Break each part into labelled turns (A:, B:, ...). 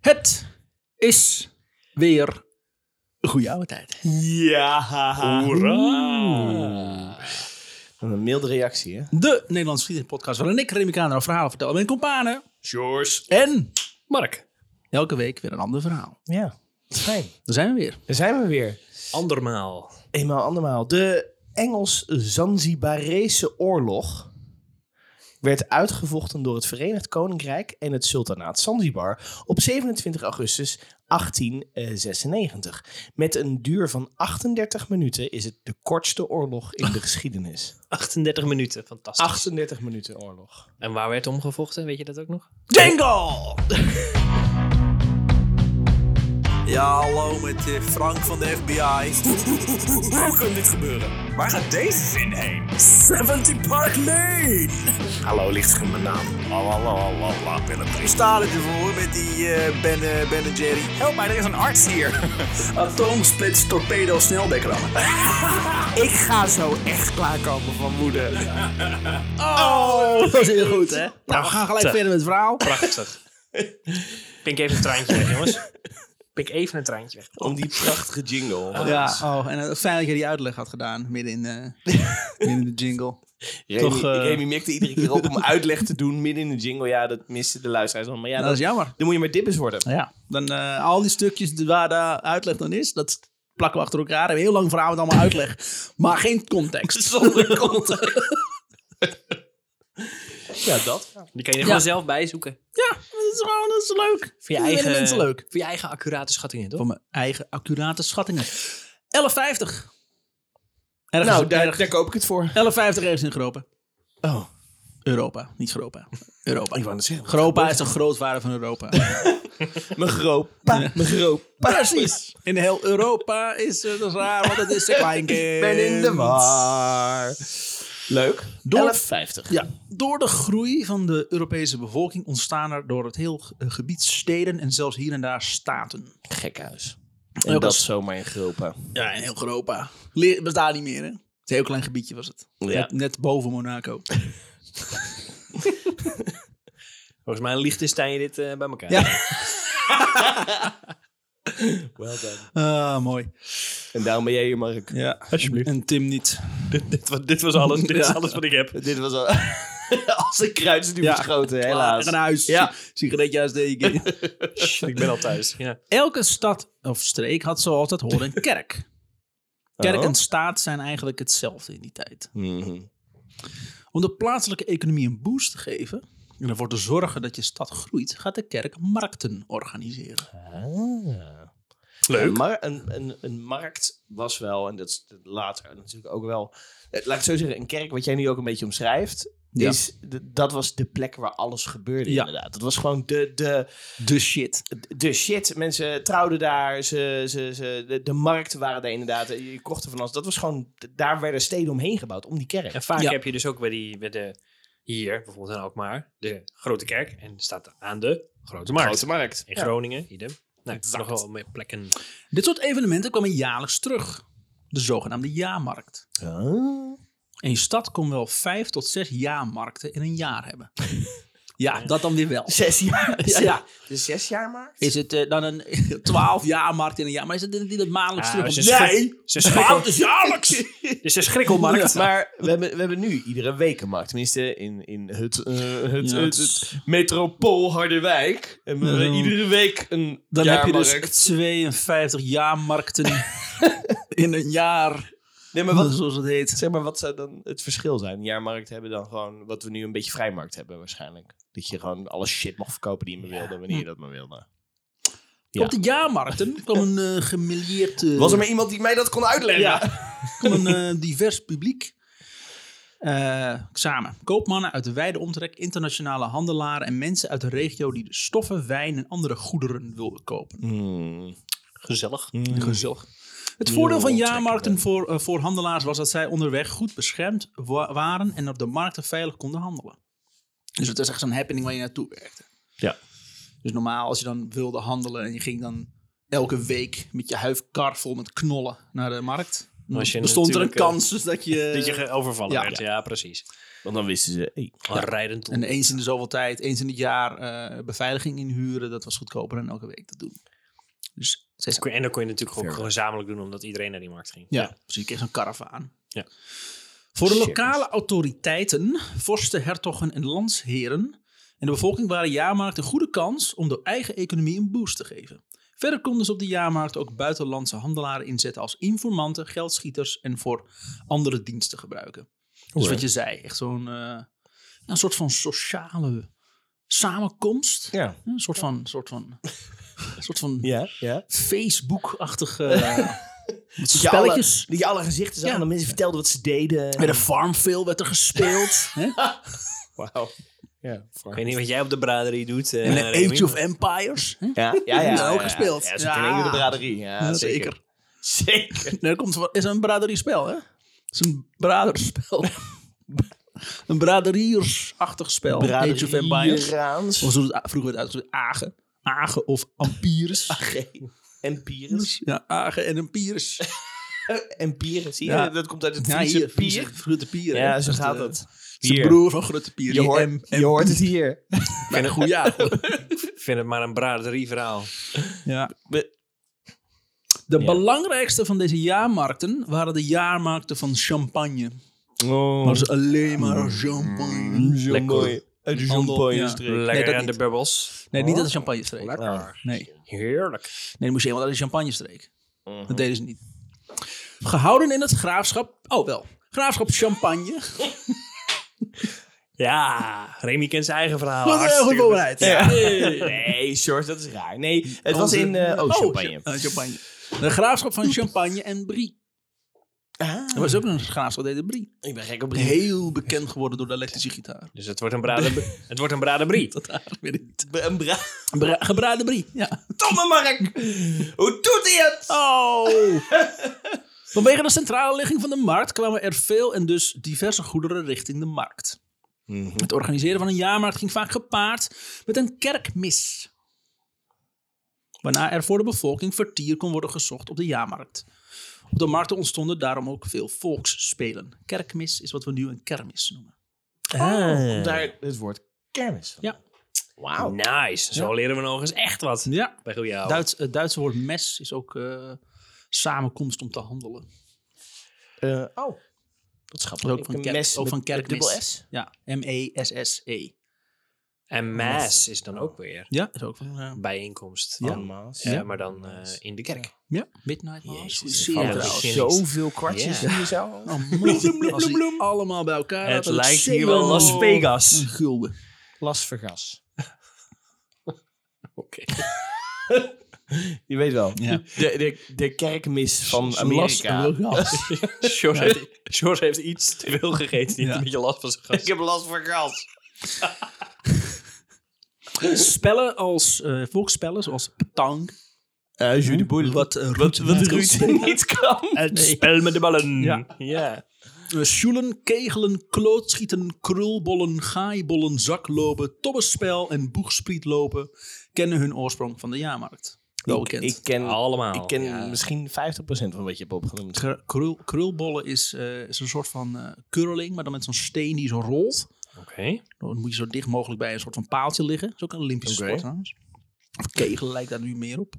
A: Het is weer een goede oude tijd.
B: Ja,
A: Hoera.
B: Een milde reactie, hè?
A: De Nederlandse Vriendenpodcast waarin ik, Remy Kaner, verhalen vertel aan mijn kompanen.
B: George.
A: En
C: Mark.
A: elke week weer een ander verhaal.
B: Ja, fijn.
A: Daar zijn we weer.
B: Daar zijn we weer.
C: Andermaal.
B: Eenmaal andermaal. De Engels-Zanzibarese oorlog werd uitgevochten door het Verenigd Koninkrijk en het Sultanaat Zanzibar op 27 augustus 1896. Met een duur van 38 minuten is het de kortste oorlog in de geschiedenis.
C: 38 minuten, fantastisch.
B: 38 minuten oorlog.
C: En waar werd omgevochten, weet je dat ook nog?
A: Jingle!
D: Ja, hallo met eh, Frank van de FBI. Hoe kan dit gebeuren? Waar gaat deze zin heen? 70 Park Lane! Hallo, ligt in mijn naam. Ik sta ervoor met die eh ben, eh, ben en Jerry. Help mij, er is een arts hier. Atoomsplits torpedo sneldekramen. Ik ga zo echt klaarkomen van moeder.
A: Oh, dat was heel goed, hè? Nou, we gaan gelijk
C: Prachtig.
A: verder met het verhaal.
C: Prachtig. Pink even een traantje weg, jongens. Pink even een traantje weg.
B: Om die prachtige jingle.
A: Ja, oh, en eh, fijn dat je die uitleg had gedaan midden in, eh, midden in de jingle.
B: Remy,
A: Toch, eh,
B: Remy mikte iedere keer op om uitleg te doen midden in de jingle. Ja, dat misten de luisteraars al. Maar ja,
A: dat is
B: dan,
A: jammer.
B: dan moet je maar dippers worden.
A: Ja. Dan eh, al die stukjes waar de uitleg dan is, dat plakken we achter elkaar. We hebben een heel lang verhaal met allemaal uitleg, maar geen context. Zonder context.
B: Ja, dat.
C: Die kan je er
A: Ja.
C: gewoon zelf bij zoeken.
A: ja, dat is gewoon dat is leuk.
C: Voor je
A: Dat vinden
C: eigen,
A: mensen leuk.
C: Voor je eigen accurate schattingen, toch?
A: Van mijn eigen accurate schattingen. 11,50. Ergens-
B: Nou, daar,
A: ergens-
B: daar koop ik het voor.
A: 11,50 ergens in Europa.
B: Oh,
A: Europa, niet Europa. Europa.
B: wou net zeggen.
A: Europa is de grootvader van Europa.
B: Mijn gropa, mijn gropa.
A: Precies. In heel Europa is het raar, want het is een kleinkind.
B: Ben in de war. Leuk.
A: Door-
B: 11,50.
A: Ja, door de groei van de Europese bevolking ontstaan er door het heel eh, gebied steden en zelfs hier en daar staten.
B: Gekhuis. En
A: Ook
B: dat
A: als-
B: zomaar in gropa.
A: Ja, in heel Europa. Le- Bestaat niet meer, hè? Het heel klein gebiedje was het.
B: Ja.
A: Net, net boven Monaco.
C: Volgens mij ligt in Stijn dit eh, bij elkaar.
A: Ja.
B: Well done.
A: Ah, mooi.
B: En daarom ben jij hier, Mark.
A: Ja.
C: Alsjeblieft.
A: En Tim niet.
C: Dit, was- dit was alles. Dit
A: Ja.
C: is alles wat ik heb.
B: Dit was al... Als een kruidstuur
A: Ja.
B: geschoten,
A: Klaar,
B: helaas.
A: Naar huis.
B: Ja.
A: Sigaretje uitsteken.
C: ik ben al
B: Oh.
C: thuis. Ja.
A: Elke stad of streek had zoals dat hoorde een kerk. Kerk
B: Oh.
A: en staat zijn eigenlijk hetzelfde in die tijd.
B: Mhm.
A: Om de plaatselijke economie een boost te geven en ervoor te zorgen dat je stad groeit, gaat de kerk markten organiseren.
C: Ah.
B: Een, mar- een, een, een markt was wel, en dat is later natuurlijk ook wel. eh, Laat ik het zo zeggen, een kerk, wat jij nu ook een beetje omschrijft.
A: Ja.
B: Is, d- dat was de plek waar alles gebeurde,
A: Ja.
B: inderdaad. Dat was gewoon de, de,
A: De shit.
B: de shit. Mensen trouwden daar, ze, ze, ze, de, de markten waren daar inderdaad. Je je kocht er van alles. Dat was gewoon, d- daar werden steden omheen gebouwd, om die kerk.
C: En vaak
A: Ja.
C: heb je dus ook bij, die, bij de, hier, bijvoorbeeld in Alkmaar, de grote kerk. En staat aan de grote markt.
B: markt.
C: In
B: Ja.
C: Groningen, idem. Nou,
B: Exact.
C: nog wel meer plekken.
A: Dit soort evenementen kwamen jaarlijks terug. De zogenaamde jaarmarkt.
B: Ah.
A: En je stad kon wel vijf tot zes jaarmarkten in een jaar hebben. Ja, dat dan weer wel.
B: Zes jaar.
A: Ja, ja.
B: De zes jaar markt?
A: Is het eh, dan een twaalf jaarmarkt in een jaar? Maar is het niet het maandelijks
C: Ah,
A: terug?
C: ze schrik- ze schrikken-
A: is jaarlijks!
C: Dit is een schrikkelmarkt.
A: Ja.
B: Maar we hebben, we hebben nu iedere week een markt. Tenminste, in, in het, eh, het,
A: Ja.
B: het, het metropool Harderwijk. En we hebben
A: Ja.
B: iedere week een
A: Dan heb je
B: jaarmarkt.
A: dus 52 jaarmarkten in een jaar.
B: Nee, maar
A: Wat,
B: wat,
A: zoals het heet.
B: zeg maar, wat zou dan het verschil zijn? Een jaarmarkt hebben dan gewoon wat we nu een beetje vrijmarkt hebben waarschijnlijk. Dat je gewoon alle shit mag verkopen die je maar wilde, wanneer je Hm. dat maar wilde.
A: Op de jaarmarkten kwam een eh gemêleerd... eh,
B: Was er maar iemand die mij dat kon uitleggen?
A: Ja. kwam een eh, divers publiek eh, samen. Koopmannen uit de wijde omtrek, internationale handelaren en mensen uit de regio die de stoffen, wijn en andere goederen wilden kopen.
B: Hmm.
C: Gezellig.
A: Gezellig. Het
B: Heel
A: voordeel van
B: omtrekkend.
A: jaarmarkten voor, eh, voor handelaars was dat zij onderweg goed beschermd wa- waren en op de markten veilig konden handelen. Dus het was echt zo'n happening waar je naartoe werkte.
B: Ja.
A: Dus normaal als je dan wilde handelen en je ging dan elke week met je huifkar vol met knollen naar de markt. Dan
C: Als je
A: bestond er een
C: natuurlijk, eh,
A: kans dus dat je...
C: Dat je ge- overvallen
A: Ja.
C: werd. Ja, precies.
B: Want dan wisten ze, hey,
C: Een rijdend
A: En eh, eens in de zoveel tijd, eens in het jaar eh, beveiliging inhuren, dat was goedkoper dan elke week dat doen. Dus steeds
C: En dat kon je natuurlijk gewoon
B: Fair.
C: gezamenlijk doen, omdat iedereen naar die markt ging.
A: Ja,
B: dus
A: precies. Je kreeg zo'n karavaan.
C: Ja.
A: Voor de
B: Shit.
A: lokale autoriteiten, vorsten, hertogen en landsheren en de bevolking waren jaarmarkten een goede kans om de eigen economie een boost te geven. Verder konden ze op de jaarmarkt ook buitenlandse handelaren inzetten als informanten, geldschieters en voor andere diensten gebruiken. Dus
B: Alright.
A: wat je zei, echt zo'n eh, een soort van sociale samenkomst.
B: ja,
A: Een soort van, soort van, soort van
B: ja, ja.
A: Facebook-achtige met
B: je alle-
A: spelletjes.
B: Dat je alle gezichten zag
A: Ja.
B: en de mensen vertelden wat ze deden.
A: Bij de Farmville werd er gespeeld. hè?
B: Wauw. Ja,
C: Ik weet niet wat jij op de braderie doet. eh,
A: En
C: Remy,
A: een Age of Empires. hè?
B: Ja, ja,
A: Nou,
B: ja.
A: ook
B: ja, ja.
A: gespeeld.
B: Ja, ze
A: Ja.
B: kennen de braderie. Ja,
A: Ja,
B: zeker. Zeker.
A: Nee, dat komt, van- is een braderiespel, hè? Het is een braderspel. een braderiersachtig spel. Age of Empires. Of
B: Raans.
A: zoals het a- vroeger werd uitgesproken, Agen. Agen of Ampires.
B: Empires.
A: Ja, Agen en Ampires.
B: Empires. Zie je?
A: Ja.
B: Dat komt uit het
A: Ja,
B: Friese
A: hier.
B: pier.
A: Grote Pier. hè?
B: Ja,
A: Dat
B: zo
A: is de-
B: gaat dat.
A: dat is de
B: eh, Hier.
A: broer van Grote Pier.
B: Je
A: die
B: hoort,
A: M-
B: je hoort het hier.
A: Maar een goed jaar.
C: Ik vind het maar een braderie verhaal.
A: Ja.
B: We-
A: De
B: Ja.
A: belangrijkste van deze jaarmarkten waren de jaarmarkten van champagne.
B: Oh,
A: Maar ze alleen maar champagne.
B: Mm. mooi. Uit de
A: Handel,
B: champagne-streek.
C: Lekker
A: dat
C: aan de
A: niet.
C: bubbels.
A: Nee, niet uit de champagne-streek. Nee,
B: Ja.
A: nee
C: Heerlijk.
A: dan moest je helemaal uit de champagne-streek.
B: Mhm.
A: Dat deden ze niet. Gehouden in het graafschap... Oh, wel. Graafschap Champagne.
C: Ja, Remy kent zijn eigen verhaal.
A: Wat een heel goed
C: Hartstikke
A: voorbereid.
B: Ja.
A: Hey.
B: Nee, George, dat is raar. Nee, het was
A: Onze-
B: in eh oh,
A: cha-
B: champagne.
A: eh, champagne. De graafschap van Champagne en Brie.
B: Ah,
A: Er was ook een graafschap dat heette Brie.
B: ik ben gek op Brie.
A: Heel bekend geworden door de elektrische gitaar.
C: Dus het wordt een, braden, het wordt een braderie.
A: Dat daar weet ik niet.
B: Een bra...
A: Bra- gebraden Brie, ja.
B: Tomme Mark! Hoe doet hij het?
A: Oh! Vanwege de centrale ligging van de markt kwamen er veel en dus diverse goederen richting de markt.
B: Mhm.
A: Het organiseren van een jaarmarkt ging vaak gepaard met een kerkmis. Waarna er voor de bevolking vertier kon worden gezocht op de jaarmarkt. Op de markten ontstonden daarom ook veel volksspelen. Kerkmis is wat we nu een kermis noemen.
B: Ah. Daar het woord kermis van.
A: Ja.
B: Wauw.
C: Nice. Zo leren we nog eens echt wat.
A: Ja,
C: Bij goeie
B: Oh.
C: ouwe.
A: Duits, het Duitse woord mes is ook eh, samenkomst om te handelen.
B: Eh, oh. Dat is grappig.
A: Dat is ook
B: Ik
A: van,
B: een
A: kerk,
B: mes
A: ook
B: met-
A: van
B: met dubbel
A: kerkmis.
B: S.
A: Ja, E M-E-S-S-E.
C: En mass is dan ook weer
A: Ja, is ook van... eh,
C: bijeenkomst.
A: Ja.
C: Van, eh,
A: Ja.
C: maar dan eh, in de kerk.
A: ja, Midnight Mass.
B: Jezus,
A: Zie
B: er
A: je
C: vallen
A: trouwens.
C: precies.
B: zoveel kwartjes
C: Ja.
B: hier zo.
A: Oh, man. Als die allemaal bij elkaar.
C: het
A: hadden, dat
C: lijkt
A: zeker
C: hier wel Las
A: Een
C: Vegas.
A: gulden.
B: Las Vegas.
C: Oké.
B: Je weet wel.
A: Ja.
B: De, de, de kerkmis van
A: Las
B: Amerika.
A: Vegas.
C: George, heeft, George heeft iets te veel gegeten.
A: Ja.
C: Die heeft een beetje last van zijn
B: Ik
C: gast.
B: heb last van gas.
A: Spellen als eh, volksspellen, zoals petang.
B: Uh, de
A: Wat eh,
B: Wat,
A: Ruud
B: wat
A: niet kan
B: Ruud
A: spelen.
B: niet kan.
C: Het spel met de ballen.
A: Ja.
C: ja.
A: Eh, Sjoelen, kegelen, klootschieten, krulbollen, gaaibollen, zaklopen, tobbenspel en boegsprietlopen kennen hun oorsprong van de jaarmarkt. Wel
B: Ik,
A: bekend.
B: ik ken,
C: Allemaal.
B: ik ken
C: ja.
B: misschien 50% van wat je hebt opgenoemd.
A: Kru- krul- krulbollen is, eh, is een soort van eh curling, maar dan met zo'n steen die zo rolt.
C: Oké.
A: Dan moet je zo dicht mogelijk bij een soort van paaltje liggen. Dat is ook een Olympische
B: Oké.
A: sport trouwens. Of kegelen lijkt daar nu meer op.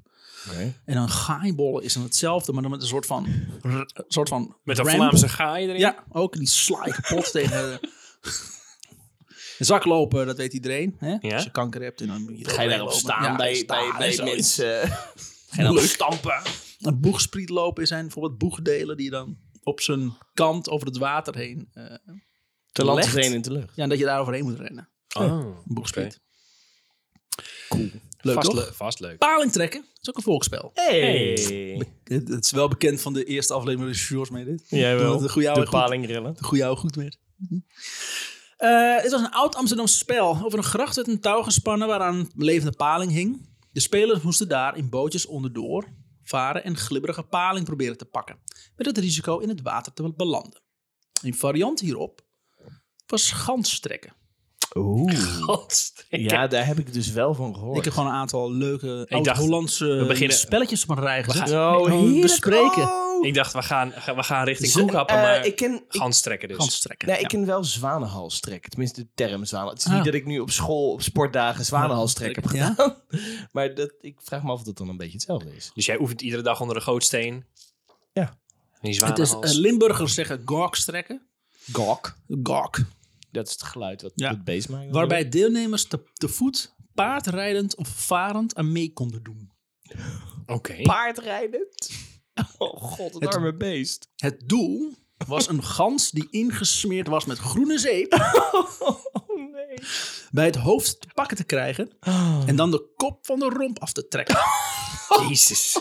A: En dan gaaibollen is dan hetzelfde, maar dan met een soort van... r- soort van
C: Met een
A: ramp.
C: Vlaamse gaai erin.
A: Ja, ook die slaai kapot tegen... de- Zaklopen, dat weet iedereen. Hè?
C: Ja.
A: Als je kanker hebt, en dan moet
B: Ga je daarop staan bij, bij, bij mensen? Ga je
A: Leuk.
B: daarop stampen?
A: Een boegsprietlopen zijn bijvoorbeeld boegdelen die je dan op zijn kant over het water heen... eh,
B: Te
A: land
B: land,
A: te trainen
B: in de lucht.
A: ja, en dat je daar overheen moet rennen.
C: Oh.
A: Een boegspriet.
C: Oké.
A: Leuk
C: vast,
A: toch?
C: leuk, vast leuk.
A: Paling trekken, dat is ook een volksspel.
B: Hey.
A: Het, het is wel bekend van de eerste aflevering waar de Shores mee deed.
B: Jij
A: wel.
B: De
A: De goeie ouwe goed.
B: palingrellen.
A: De goede oude goed werd. Mhm. Eh, het was een oud Amsterdams spel. Over een gracht werd een touw gespannen waaraan een levende paling hing. De spelers moesten daar in bootjes onderdoor varen en glibberige paling proberen te pakken. Met het risico in het water te belanden. Een variant hierop was ganstrekken.
B: Oeh.
C: Godstrekker.
B: Ja, daar heb ik dus wel van gehoord.
A: Ik heb gewoon een aantal leuke
C: dacht,
A: oud-Hollandse
C: beginnen-
A: spelletjes op een rij gezet.
B: Oh,
A: Nee, we
B: heerlijk.
A: bespreken.
B: Oh, Oh.
C: Ik dacht, we gaan, we gaan richting
B: Ze-
C: koekappen,
B: eh,
C: maar
B: ik ken, ik,
C: gans trekken dus.
A: Ganstrekken.
B: nee, ik
A: ja.
B: ken wel zwanenhalstrek. Tenminste, de term zwanen. Het is
A: Ah.
B: niet dat ik nu op school op sportdagen zwanenhalstrek heb
A: Ja?
B: gedaan. Maar dat, ik vraag me af of dat dan een beetje hetzelfde is.
C: Dus jij oefent iedere dag onder de gootsteen.
B: Ja.
C: En die
A: Het is,
C: zwanenhals.
A: eh, Limburgers zeggen gorkstrekken.
B: Gok.
A: Gork.
B: Dat is het geluid wat
A: Ja.
B: het beest maakt.
A: Waarbij deelnemers te, te voet, paardrijdend of varend aan mee konden doen.
C: Oké.
B: paardrijdend. Oh god, een
A: Het-
B: arme beest.
A: Het doel was een gans die ingesmeerd was met groene zeep
B: Oh nee.
A: bij het hoofd te pakken te krijgen
B: Ah.
A: en dan de kop van de romp af te trekken.
C: Jezus.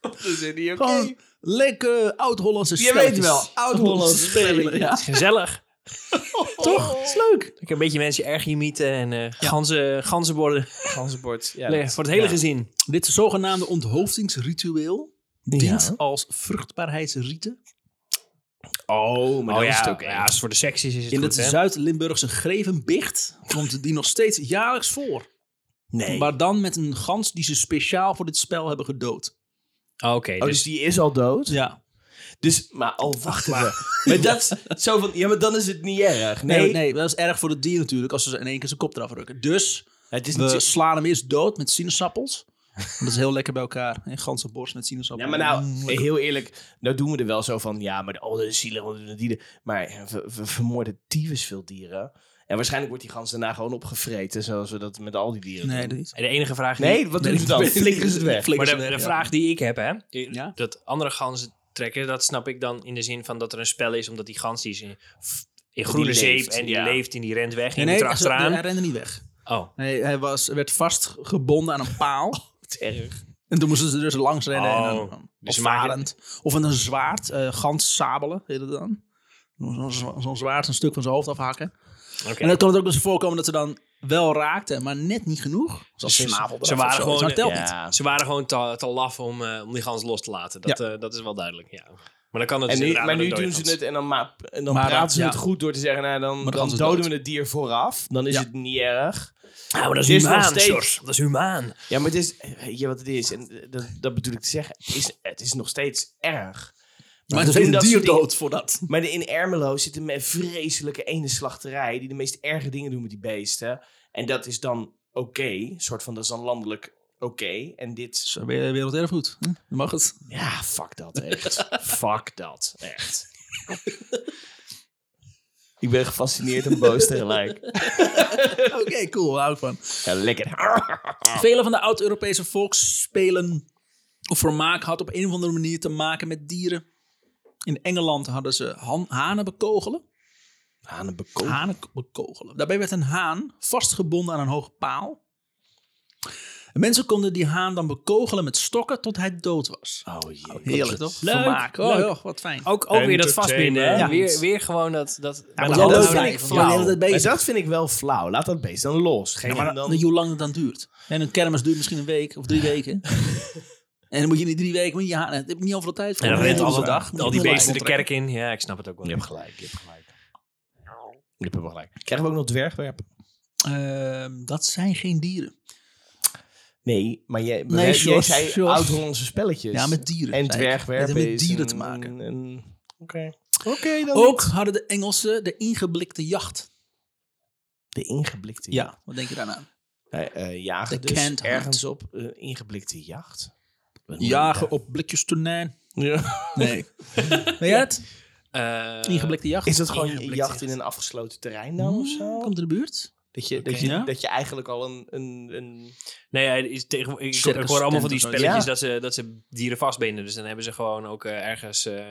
B: Dat is niet oké.
A: Gewoon lekker oud-Hollandse
B: Je
A: spelletjes.
B: weet wel, oud-Hollandse spelen.
A: Ja.
C: Het is gezellig.
B: Oh.
A: Toch? is leuk.
C: Ik een beetje mensen erg imieten en eh ganzen, ganzenborden
B: Ganzenbord. Ja,
C: leggen
B: dat-
C: voor het hele
B: ja.
C: gezin.
A: Dit zogenaamde onthoofdingsritueel dient
B: Ja.
A: als vruchtbaarheidsrieten.
B: Oh, maar
C: oh
B: dat
C: ja,
B: is het ook
C: ja, als het voor de seks is, is het
A: In het
C: goed, hè?
A: Zuid-Limburgse Grevenbicht komt die nog steeds jaarlijks voor.
B: Nee.
A: Maar dan met een gans die ze speciaal voor dit spel hebben gedood.
C: Oh, Oké,
B: Oh,
C: dus
B: dus die is al dood?
A: Ja.
B: Dus, maar oh, wacht even. Maar dat is zo van, ja, maar dan is het niet erg.
A: Nee,
B: Nee,
A: nee, dat is erg voor het dier natuurlijk als ze in één keer zijn kop eraf rukken. Dus
B: het is
A: we
B: niet zo...
A: slaan hem eerst dood met sinaasappels. Dat is heel lekker bij elkaar. Een ganse borst met
B: Ja,
A: sinaasappels.
B: maar nou, heel eerlijk, nou doen we er wel zo van, ja, maar oh, dat is zielig, want we doen dieren. Maar we, we vermoorden tyfus veel dieren. En waarschijnlijk wordt die gans daarna gewoon opgevreten, zoals we dat met al die dieren
A: Nee,
B: doen.
A: dat is...
C: de enige vraag die...
B: Nee, wat doen ze dan? Flikkeren ze het weg?
C: maar de,
A: Flikkers
C: de
A: weg, dus- ja.
C: vraag die ik heb, hè.
A: Ja?
C: Dat andere ganzen trekken, dat snap ik dan in de zin van dat er een spel is, omdat die gans die is in, in groene
B: Die
C: zeep
B: leeft,
C: en die
B: ja.
C: leeft en die rent weg en
A: Nee,
C: die moet
A: nee, hij,
C: er
A: hij
C: achteraan.
A: rende niet weg.
C: Oh,
A: Nee, hij was, werd vastgebonden aan een paal.
B: Het is erg.
A: En toen moesten ze dus langs rennen. en
C: Oh,
A: dan,
C: dus
A: of
C: ze maken-
A: varend. Of met een zwaard. eh gans sabelen, heet het dan. Zo'n zwa- zo'n zwaard een stuk van zijn hoofd afhakken.
C: oké.
A: En dan kon het ook dus voorkomen dat ze dan wel raakten, maar net niet genoeg. Zoals
C: Ze-
A: ze snavel
C: ze
A: eraf of
C: waren
A: zo.
C: gewoon-
A: Dus dat telt niet.
B: ja.
C: Ze waren gewoon te, te laf om, eh, om die gans los te laten. Dat, eh, dat is wel duidelijk, ja. Maar dan kan het
B: En
C: dus
B: nu,
C: inderdaad met
B: maar nu
C: een
B: doen
C: dode
B: ze
C: gans.
B: het en dan, maap- en dan
A: Maar
B: praten
A: dat-
B: ze het
A: ja.
B: goed door te zeggen, nou, dan,
A: de
B: dan
A: gans is
B: doden
A: dood.
B: we het dier vooraf. Dan is
A: Ja.
B: het niet erg.
C: Ja, maar dat
B: Het
C: is
B: is nog
C: humaan,
B: steeds-
C: Sjors. Dat is humaan.
B: Ja, maar het is, weet je wat het is? En eh, dat, dat bedoel ik te zeggen. Het is, het is nog steeds erg.
A: Maar het
B: ze
A: is
B: doen
A: een
B: dat soort
A: dier
B: dingen-
A: dood voor dat.
B: Maar de- in Ermelo zit een me- vreselijke ene slachterij die de meest erge dingen doen met die beesten. En dat is dan oké, soort van dat is dan landelijk oké. En dit,
A: Zo ben je werelderfgoed. Hm? Dan mag het.
B: ja, fuck dat echt. fuck dat echt. ik ben gefascineerd en boos tegelijk.
A: Oké, cool. Hou ik van.
B: Ja, lekker.
A: Vele van de oud-Europese volksspelen of vermaak had op een of andere manier te maken met dieren. In Engeland hadden ze han- hanen bekogelen.
B: Aan een bekomen.
A: Hanen k- bekogelen. Daarbij werd een haan vastgebonden aan een hoge paal. En mensen konden die haan dan bekogelen met stokken tot hij dood was.
B: Oh jee.
A: Heerlijk toch?
C: Leuk,
A: Vermaak. Oh,
C: leuk.
A: joh, wat fijn.
C: Ook, ook weer dat vastbinden, hè?
A: Entertainment.
C: Weer, weer gewoon dat... dat bij
A: maar
C: de
A: dat
C: hand
A: vind
C: houden
A: ik
C: van
A: flauw.
C: jou.
A: Ja, dat- bezig.
B: Maar dat vind ik wel flauw. Laat dat beest dan los. Geen
A: Ja, maar
B: hem
A: dan,
B: dan...
A: hoe lang het dan duurt. En een kermis duurt misschien een week of drie weken. En dan moet je in die drie weken, moet je, ja, heb ik niet overal tijd voor.
C: En dan
A: Nee,
C: rent
A: dat is
C: alle
A: waar.
C: dag
A: Moet
C: al
A: je
C: die
A: online
C: beesten de
A: contracten.
C: kerk in. Ja, ik snap het ook wel.
B: Je hebt gelijk, je hebt gelijk. Je hebt wel gelijk. Krijgen we ook nog dwergwerpen?
A: Ehm, dat zijn geen dieren.
B: Nee, maar jij,
A: Nee,
B: jij
A: Sjors,
B: zei
A: Sjors.
B: oud-Hollandse spelletjes.
A: Ja, met dieren.
B: En
A: zei ik.
B: dwergwerpen
A: Het heeft met
B: is
A: dieren
B: een-
A: te maken.
B: een- Oké. Oké, dan
A: Ook hadden de Engelsen de ingeblikte jacht.
B: de ingeblikte jacht.
A: Ja, wat denk je daarna?
B: Wij, eh, jagen
A: De
B: dus
A: canned hunt.
B: ergens op eh, ingeblikte jacht. Wat
A: Jagen op blikjes tonijn.
B: moet je daar-
A: Nee. Weet je het?
C: Eh,
A: Ingeblikte jacht.
B: Is dat gewoon
C: Ingeblikte
B: jacht in
C: jacht.
B: een afgesloten terrein dan of
A: Hmm,
B: zo?
A: Komt in de buurt?
B: Dat je, dat
C: Oké.
B: je,
A: Ja.
B: dat je eigenlijk al een... een, een
C: Nee, hij is tegen, ik, ik
A: Circus
C: hoor allemaal van
A: tent
C: die
A: of zo.
C: spelletjes
B: Ja.
C: dat, ze, dat ze dieren vastbinden. Dus dan hebben ze gewoon ook eh, ergens eh,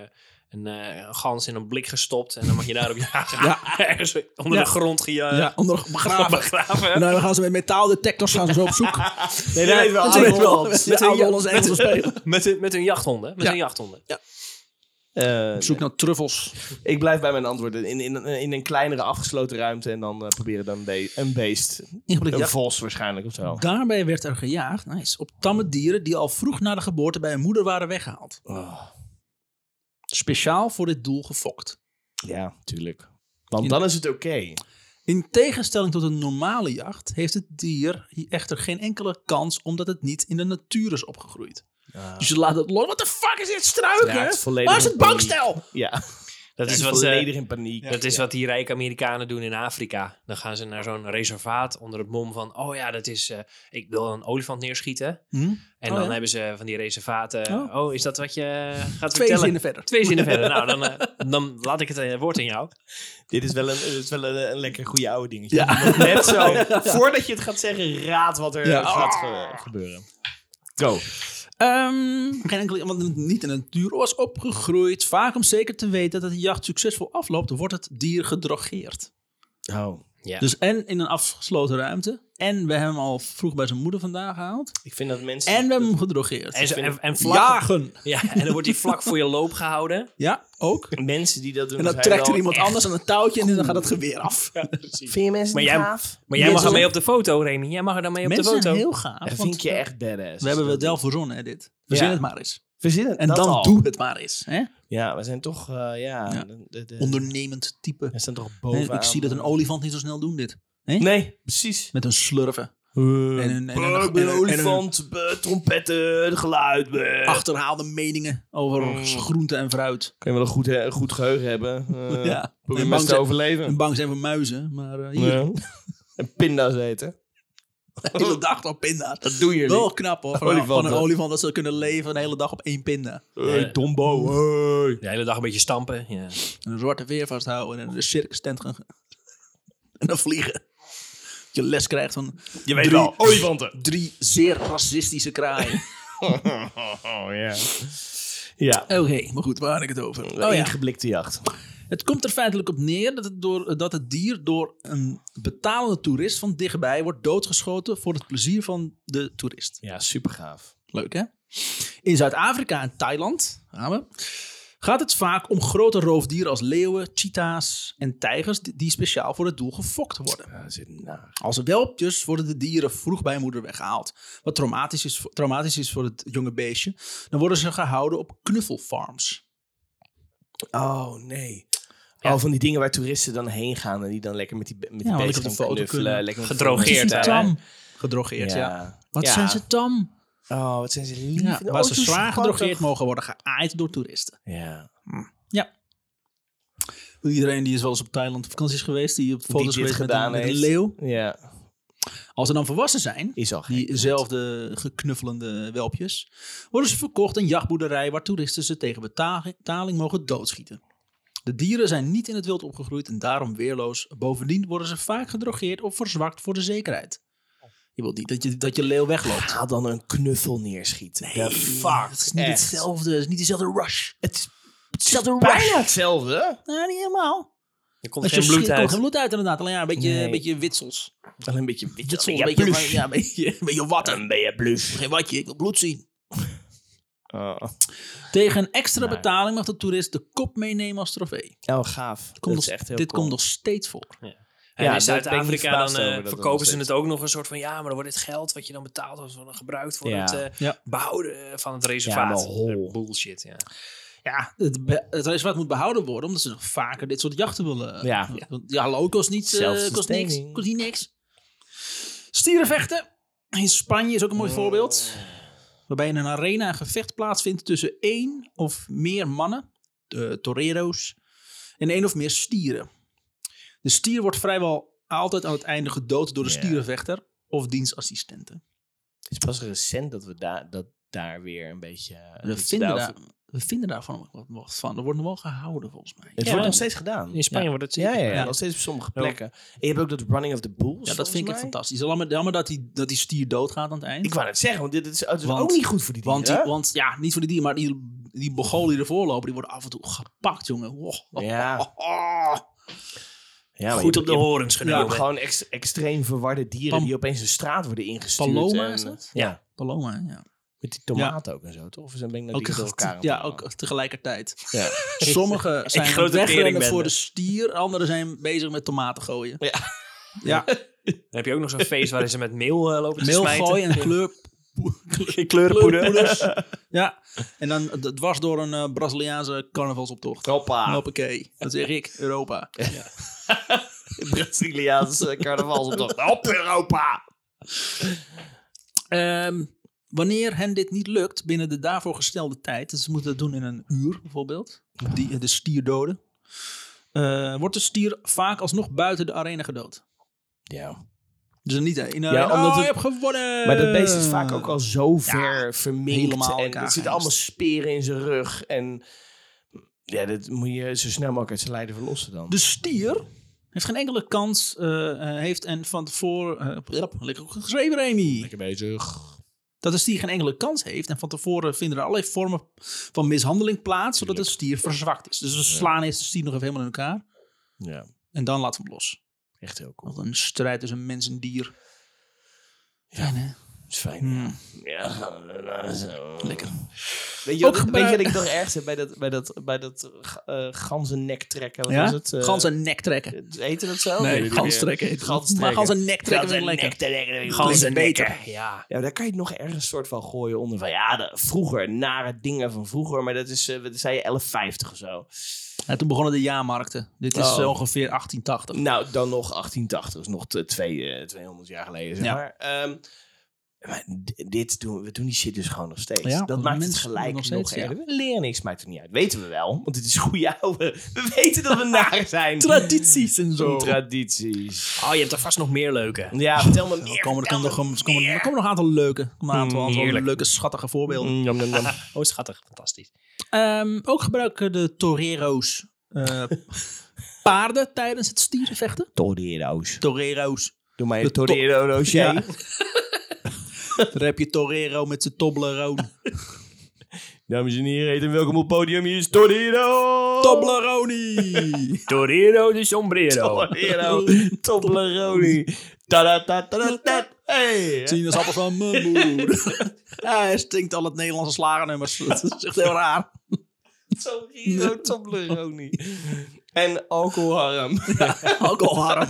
C: een, eh, een gans in een blik gestopt. En dan mag je daarop jagen. ergens onder
A: Ja.
C: de grond gejaagd.
A: Ja, onder begraven. En
C: Begraven.
A: dan gaan ze met metaaldetectors gaan ze zo op zoek.
B: nee,
C: dat is wel
A: Dat
B: dat
A: ze
B: is
A: met
B: wel
A: wel-
B: oud.
A: met de oude Hollandse Engelsen spelen.
C: Met, hun- met hun jachthonden. Met
A: Ja.
C: hun jachthonden.
B: Eh,
A: Op zoek naar truffels.
B: Ik blijf bij mijn antwoorden. In, in, in een kleinere afgesloten ruimte en dan eh, proberen dan een, be- een beest.
A: Ingeblikte
B: Een
A: jacht.
B: vos waarschijnlijk of zo.
A: Daarbij werd er gejaagd nice, op tamme dieren die al vroeg na de geboorte bij hun moeder waren weggehaald.
B: Oh,
A: Speciaal voor dit doel gefokt.
B: ja, tuurlijk. Want dan is het oké.
A: In tegenstelling tot een normale jacht heeft het dier hier echter geen enkele kans omdat het niet in de natuur is opgegroeid. Dus je laat het los. What the fuck is dit struiken?
B: Ja, het is volledig
A: Waar is het
B: in paniek.
A: bankstel?
B: Ja,
C: Dat is wat
B: volledig
A: eh,
C: ze...
B: in paniek.
C: Dat is wat die rijke Amerikanen doen in Afrika. Dan gaan ze naar zo'n reservaat onder het mom van... Oh ja, dat is... eh, ik wil een olifant neerschieten.
A: Hm?
C: En
A: Oh,
C: dan
A: ja.
C: hebben ze van die reservaten...
A: Oh.
C: Oh, is dat wat je eh, gaat
A: Twee
C: vertellen?
A: zinnen verder.
C: Twee zinnen verder. Nou, dan, eh, dan laat ik het eh, woord aan jou.
B: Dit is wel een, dit is wel een, een lekker goede oude dingetje.
A: Ja.
B: Je moet Net zo. Voordat je het gaat zeggen, raad wat er
A: Ja. Ah.
B: gaat ge- gebeuren. Go.
A: Ehm, geen enkele, want niet in de natuur was opgegroeid. Vaak om zeker te weten dat de jacht succesvol afloopt, wordt het dier gedrogeerd.
B: Oh.
C: Ja.
A: Dus en in een afgesloten ruimte. En we hebben hem al vroeg bij zijn moeder vandaan gehaald.
B: Ik vind dat mensen...
A: En we hebben hem gedrogeerd.
C: en, zo- en, en vlak,
A: Jagen.
C: Ja, en dan wordt die vlak voor je loop gehouden.
A: Ja, ook.
B: Mensen die dat doen.
A: En dan
B: zijn
A: trekt er
B: wel
A: iemand
B: echt-
A: anders aan het touwtje en dan gaat het geweer af.
B: Vind je mensen
C: Maar
B: niet
C: jij-
B: gaaf?
C: Maar jij
A: Mensen-
C: mag er mee op de foto, Remy. Jij mag er dan mee op
A: Mensen
C: de foto.
A: zijn heel gaaf.
B: Dat
A: want
B: vind ik je echt badass.
A: we hebben het wel verzonnen, hè, dit. Verzin
B: Ja.
A: het maar eens.
B: Verzinnen.
A: En dan doe het maar eens. Hè?
B: Ja, we zijn toch... eh, ja.
A: Ja.
B: de- de- de-
A: Ondernemend type.
B: we staan toch
A: Hè,
B: bovenaan.
A: ik zie dat een olifant niet zo snel doen, dit.
B: Nee, precies.
A: Met een slurven. En een, en een,
B: Bah, ik
A: en
B: ben
A: een- en een
B: olifant, bah, trompetten, geluid. eh. bah.
A: achterhaalde meningen over groente en fruit.
B: Kan je wel een goed, eh, een goed geheugen hebben. eh,
A: ja. En
B: Probeer maar
A: bang,
B: eens te
A: zijn,
B: overleven.
A: en bang zijn voor muizen. Maar eh, hier,
B: Ja. en pinda's eten.
A: de hele dag op pinda.
B: Dat doen jullie.
A: Wel knap hoor. Van,
B: Olifanten.
A: van een olifant dat ze kunnen leven de hele dag op één pinda.
B: Hey, Dombo. hey.
C: De hele dag een beetje stampen. Ja.
A: En een zwarte veer vasthouden en een circus tent gaan. En dan vliegen. Dat Je les krijgt van
B: Je
A: weet wel,
B: olifanten.
A: drie zeer racistische kraaien.
B: Oh, ja. Ja,
A: Oké, maar goed, waar had ik het over?
B: een
A: Oh ja.
B: ingeblikte jacht.
A: Het komt er feitelijk op neer dat het, door, dat het dier door een betalende toerist van dichtbij wordt doodgeschoten voor het plezier van de toerist.
B: Ja, super gaaf.
A: Leuk hè? In Zuid-Afrika en Thailand gaan we, gaat het vaak om grote roofdieren als leeuwen, cheetahs en tijgers die- die speciaal voor het doel gefokt worden.
B: Ja, zit naar.
A: Als welpjes worden de dieren vroeg bij moeder weggehaald. Wat traumatisch is, voor- traumatisch is voor het jonge beestje. Dan worden ze gehouden op knuffelfarms.
B: Oh, nee. Oh, van die dingen waar toeristen dan heen gaan en die dan lekker met die, be- met die
A: Ja, want ik
B: beesten
A: had een
B: gaan
A: foto
B: knuffelen.
A: kunnen-
B: Lekker met
C: Gedrogeerd,
B: foto's
C: hè?
B: maken.
A: tam. Gedrogeerd, ja. Wat
B: Ja.
A: zijn ze tam?
B: Oh, wat zijn ze lief.
A: Ja,
B: Oh,
A: waar
B: zo
A: ze zwaar
B: schattig.
A: gedrogeerd mogen worden geaaid door toeristen.
B: Ja.
A: Iedereen die is wel eens op Thailand op vakantie is geweest, die op foto's
B: dit
A: geweest met een,
B: gedaan
A: met een
B: heeft.
A: leeuw.
B: Ja.
A: Als ze dan volwassen zijn,
B: Is al gek.
A: diezelfde geknuffelende welpjes, worden ze verkocht aan jachtboerderijen waar toeristen ze tegen betaling- betaling mogen doodschieten. De dieren zijn niet in het wild opgegroeid en daarom weerloos. Bovendien worden ze vaak gedrogeerd of verzwakt voor de zekerheid. Je wilt niet dat je, dat je leeuw wegloopt.
B: Ga dan een knuffel neerschieten. The fuck.
A: Het is niet
B: echt.
A: hetzelfde, het is niet dezelfde rush.
B: Het is
A: Hetzelfde rush.
B: bijna hetzelfde.
A: Nou, niet helemaal.
C: Er komt
A: Als je
C: geen bloed
A: schiet, komt
C: uit.
A: geen bloed uit inderdaad. Alleen ja, een beetje,
B: Nee.
A: een beetje witsels.
B: Alleen een beetje
A: Witsels,
B: Ja,
A: een beetje,
B: plus.
A: ja, een beetje, een beetje watten.
B: ben je bluf.
A: Geen watje, ik wil bloed zien. Oh. Tegen een extra betaling mag de toerist de kop meenemen als trofee.
B: Oh, gaaf.
A: Komt
B: dat is
A: nog-
B: echt heel
A: dit
B: cool.
A: komt nog steeds voor.
C: En
B: Ja,
C: in
B: daar ben ik niet
C: Zuid-Afrika
B: verbaasd
C: dan eh,
B: over dat dat nog
C: verkopen ze
B: steeds-
C: het ook nog een soort van... Ja, maar dan wordt het geld wat je dan betaalt... wordt dan gebruikt voor
B: Ja.
C: het eh,
A: Ja.
C: behouden van het
B: Ja, maar
C: reservaat.
B: hol.
C: Bullshit, ja.
A: Ja, het, be- het reservaat moet behouden worden, omdat ze nog vaker dit soort jachten willen.
B: Ja.
A: Want ja, hallo, kost, niet, eh, kost niks.
B: Zelfsustaining.
A: Kost niet niks. Stierenvechten in Spanje is ook een mooi voorbeeld. Waarbij in een arena een gevecht plaatsvindt tussen één of meer mannen, de torero's, en één of meer stieren. De stier wordt vrijwel altijd aan het einde gedood door de
B: Ja.
A: stierenvechter of dienstassistenten.
B: Het is pas recent dat we daar dat daar weer een beetje...
A: We
B: dat ze
A: vinden,
B: daarover-
A: daar, we vinden daarvan ook wat- wat van. Er wordt nog wel gehouden volgens mij.
B: Het
C: Ja.
B: wordt nog steeds gedaan.
C: In Spanje wordt het
B: Ja, ja, ja,
A: Ja.
B: Nog steeds op sommige plekken. En je hebt ook dat Running of the Bulls.
A: Ja, dat vind ik echt
B: volgens mij.
A: fantastisch. Jammer, jammer dat, die, dat die stier doodgaat aan het eind.
B: Ik wou net zeggen, want dit is, het is
A: Want-
B: ook niet goed voor die
A: want, die,
B: dieren.
A: want ja, niet voor die dier, maar die, die Bogolen die ervoor lopen, die worden af en toe gepakt, jongen. Wow.
B: Ja.
A: Oh, oh.
B: Ja, maar
C: Goed
B: je-
C: op de
B: je-
C: horens
B: Je
C: genomen.
B: hebt gewoon ex- extreem verwarde dieren
A: Pam-
B: die opeens de straat worden ingestuurd.
A: Paloma
B: en- eh,
A: is dat?
B: Ja.
A: Paloma, ja.
B: Met die tomaten ook en zo, toch? Of zijn ben ik nou
A: Ook,
B: die door elkaar aan het
A: ja,
B: halen?
A: ook tegelijkertijd.
B: Ja.
A: Sommige zijn
C: grote
A: wegrennen
C: teringbende.
A: voor de stier, anderen zijn bezig met tomaten gooien.
B: Ja.
A: Ja,
C: Dan heb je ook nog zo'n feest waarin ze met meel eh, lopen te
A: meel
C: smijten.
A: gooien en kleur,
B: Kleurenpoeder.
A: ja. En dan d- dwars door een eh, Braziliaanse carnavalsoptocht.
B: Hoppa.
A: Hoppakee, dat zeg ik, Europa.
B: Braziliaanse carnavalsoptocht. Op Europa!
A: Ehm, Wanneer hen dit niet lukt binnen de daarvoor gestelde tijd, dus ze moeten dat doen in een uur bijvoorbeeld, die, de stier doden, eh, wordt de stier vaak alsnog buiten de arena gedood.
B: Ja.
A: Dus niet in de
B: Ja,
A: arena,
B: omdat
A: oh, je
B: het-
A: hebt gewonnen!
B: Maar dat beest is vaak ook al zo ver verminkt.
A: helemaal
B: en
A: elkaar
B: er zitten allemaal speren in zijn rug. En ja, dat moet je zo snel mogelijk uit zijn lijden verlossen dan.
A: De stier heeft geen enkele kans, eh, eh, heeft en van tevoren, eh, blap, lekker goed geschreven Remy,
B: bezig.
A: dat de stier geen enkele kans heeft en van tevoren vinden er allerlei vormen van mishandeling plaats, zodat de stier verzwakt is. Dus we slaan eerst de stier nog even helemaal in elkaar
B: Ja,
A: en dan laten we hem los.
B: echt heel cool.
A: Wat een strijd tussen mens en dier. Ja, hè?
B: Dat is fijn. Ja, eh, zo.
A: Lekker.
B: Weet je,
A: Ook
B: wat, weet je
A: gebruik-
B: wat ik nog erg heb bij dat, bij dat, bij dat eh ganzennek trekken? Wat was
A: Ja?
B: het? Eh,
A: Gans en nek trekken.
B: Heette dat zo?
A: Nee, gans trekken heet het.
B: Gans
A: Maar
B: trekken.
A: gans en nek trekken is lekker.
B: trekken.
A: Gans en
B: nek.
A: beter.
C: eh, Ja.
B: Ja, maar daar kan je het nog ergens soort van gooien onder van ja, de, vroeger, nare dingen van vroeger, maar dat is, eh, wat zei je, 11,50 of zo.
A: Ja, toen begonnen de jaarmarkten. Dit is
B: Oh.
A: eh, ongeveer 1880.
B: Nou, dan nog 1880, dus nog te- twee, eh, 200 jaar geleden, zeg
A: Ja.
B: maar. Ehm, maar d- dit doen, we doen die shit dus gewoon nog steeds.
A: Ja,
B: dat
A: want
B: maakt het
A: mensen
B: gelijk
A: doen
B: nog,
A: het nog steeds,
B: erger. We leren niks, maakt het niet uit. Weten we wel, want dit is goede oude. We weten dat we naar zijn.
A: Tradities en zo.
B: Tradities.
C: Oh, je hebt er vast nog meer leuke.
B: Ja, vertel me meer.
A: Er komen, er,
B: vertel
A: komen, nog,
B: me
A: er, komen,
B: meer.
A: er komen nog een aantal leuke, er komen een aantal, aantal
C: Heerlijk.
A: leuke, schattige voorbeelden.
B: Mm, jam, jam, jam.
C: Oh, schattig. Fantastisch.
A: Ehm, ook gebruiken de torero's eh, paarden tijdens het stierenvechten.
B: Torero's.
A: Torero's.
B: Doe mij
A: De
B: een
A: to-
B: torero roosje.
A: Ja. Daar heb je torero met zijn Toblerone.
B: Dames en heren, heet en welkom op het podium. Hier is Torero.
A: Tobleroni!
C: Torero de sombrero.
B: Torero. Toblerone. Ta-da-ta-ta-ta. Hey.
A: Zien als appel van mijn moeder. Ja, hij stinkt al het Nederlandse slagernummers. Dat is echt heel raar.
B: Torero Toblerone. En alcoholarm.
A: Alcoholarm.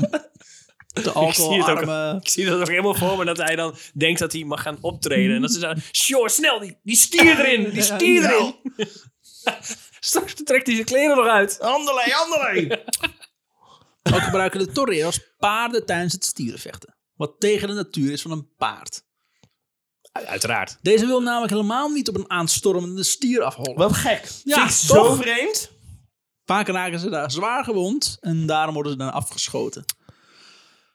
A: De alcoholarme.
C: Ik zie dat nog helemaal voor me dat hij dan denkt dat hij mag gaan optreden. En dat ze zeggen, sure, snel, die, die stier erin, die stier
A: Ja.
C: erin. Straks trekt hij zijn kleren nog uit.
B: Anderlei, anderlei.
A: Ook gebruiken de torero's paarden tijdens het stierenvechten. Wat tegen de natuur is van een paard.
C: Uiteraard.
A: Deze wil namelijk helemaal niet op een aanstormende stier afhollen.
B: Wat gek.
A: Ja,
B: Vind ik zo
A: toch?
B: vreemd.
A: Vaak raken ze daar zwaar gewond en daarom worden ze dan afgeschoten.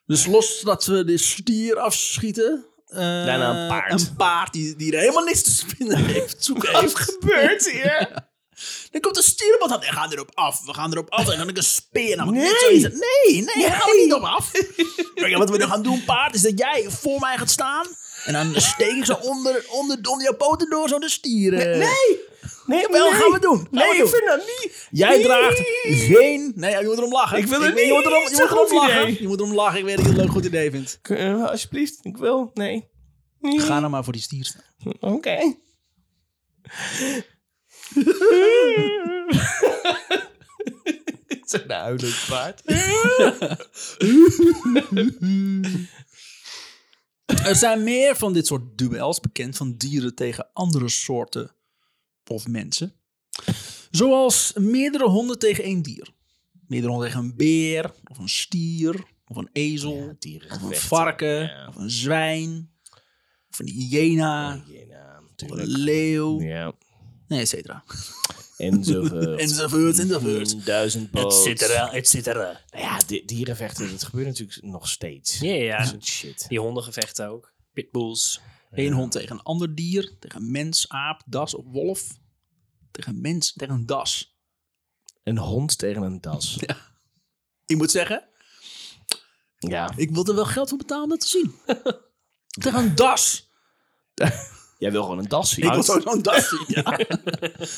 A: Dus los dat we de stier afschieten. eh,
B: Daarna een paard.
A: Een paard die, die er helemaal niks te spinnen heeft. Zoek
B: Wat
A: heeft.
B: gebeurt hier?
A: Dan komt een stier op wat aan. We gaan erop af. We gaan erop af. En dan heb ik een speer. Dan
B: Nee.
A: nee. nee, nee, daar gaan we niet op af. Weet je wat we dan gaan doen, paard, is dat jij voor mij gaat staan. En dan steek ik zo onder, onder, onder jouw poten door, zo de stieren.
B: Nee. Nee,
A: Wel, gaan we doen. Gaan
B: Nee,
A: we
B: ik
A: doen.
B: vind dat niet.
A: Jij
B: Nee.
A: draagt geen... Nee, ja, je moet erom lachen.
B: Ik wil er
A: weet- Je moet erom, je
B: niet.
A: moet erom
B: Goed
A: lachen.
B: idee.
A: Je moet erom lachen. Ik weet dat je het een leuk goed idee vindt.
B: Eh, Alsjeblieft, ik wil. Nee. Nee.
A: Ga nou maar voor die stier staan.
B: Oké. Het is een huilend paard.
A: Er zijn meer van dit soort duels bekend van dieren tegen andere soorten of mensen. Zoals meerdere honden tegen één dier. Meerdere honden tegen een beer, of een stier, of een ezel, of een varken,
B: ja.
A: of een zwijn, of een hyena,
B: Hyena,
A: of een
B: natuurlijk.
A: leeuw,
B: Ja.
A: nee, et cetera.
B: Enzovoort.
A: Enzovoort, enzovoort.
B: Duizend
C: Et
B: boot.
C: cetera, et cetera.
B: Nou ja, di- dierenvechten, dat gebeurt natuurlijk nog steeds.
C: Ja, ja.
B: Dat soort shit.
C: Die hondengevechten ook. Pitbulls.
A: Eén hond tegen een ander dier, tegen een mens, aap, das of wolf. Tegen een mens, tegen een das.
B: Een hond tegen een das.
A: Ik moet zeggen,
B: Ja.
A: ik wil er wel geld voor betalen om dat te zien. Tegen een das. Nou,
B: Jij wil gewoon een das zien.
A: Ik wil zo zo'n das zien. Ja.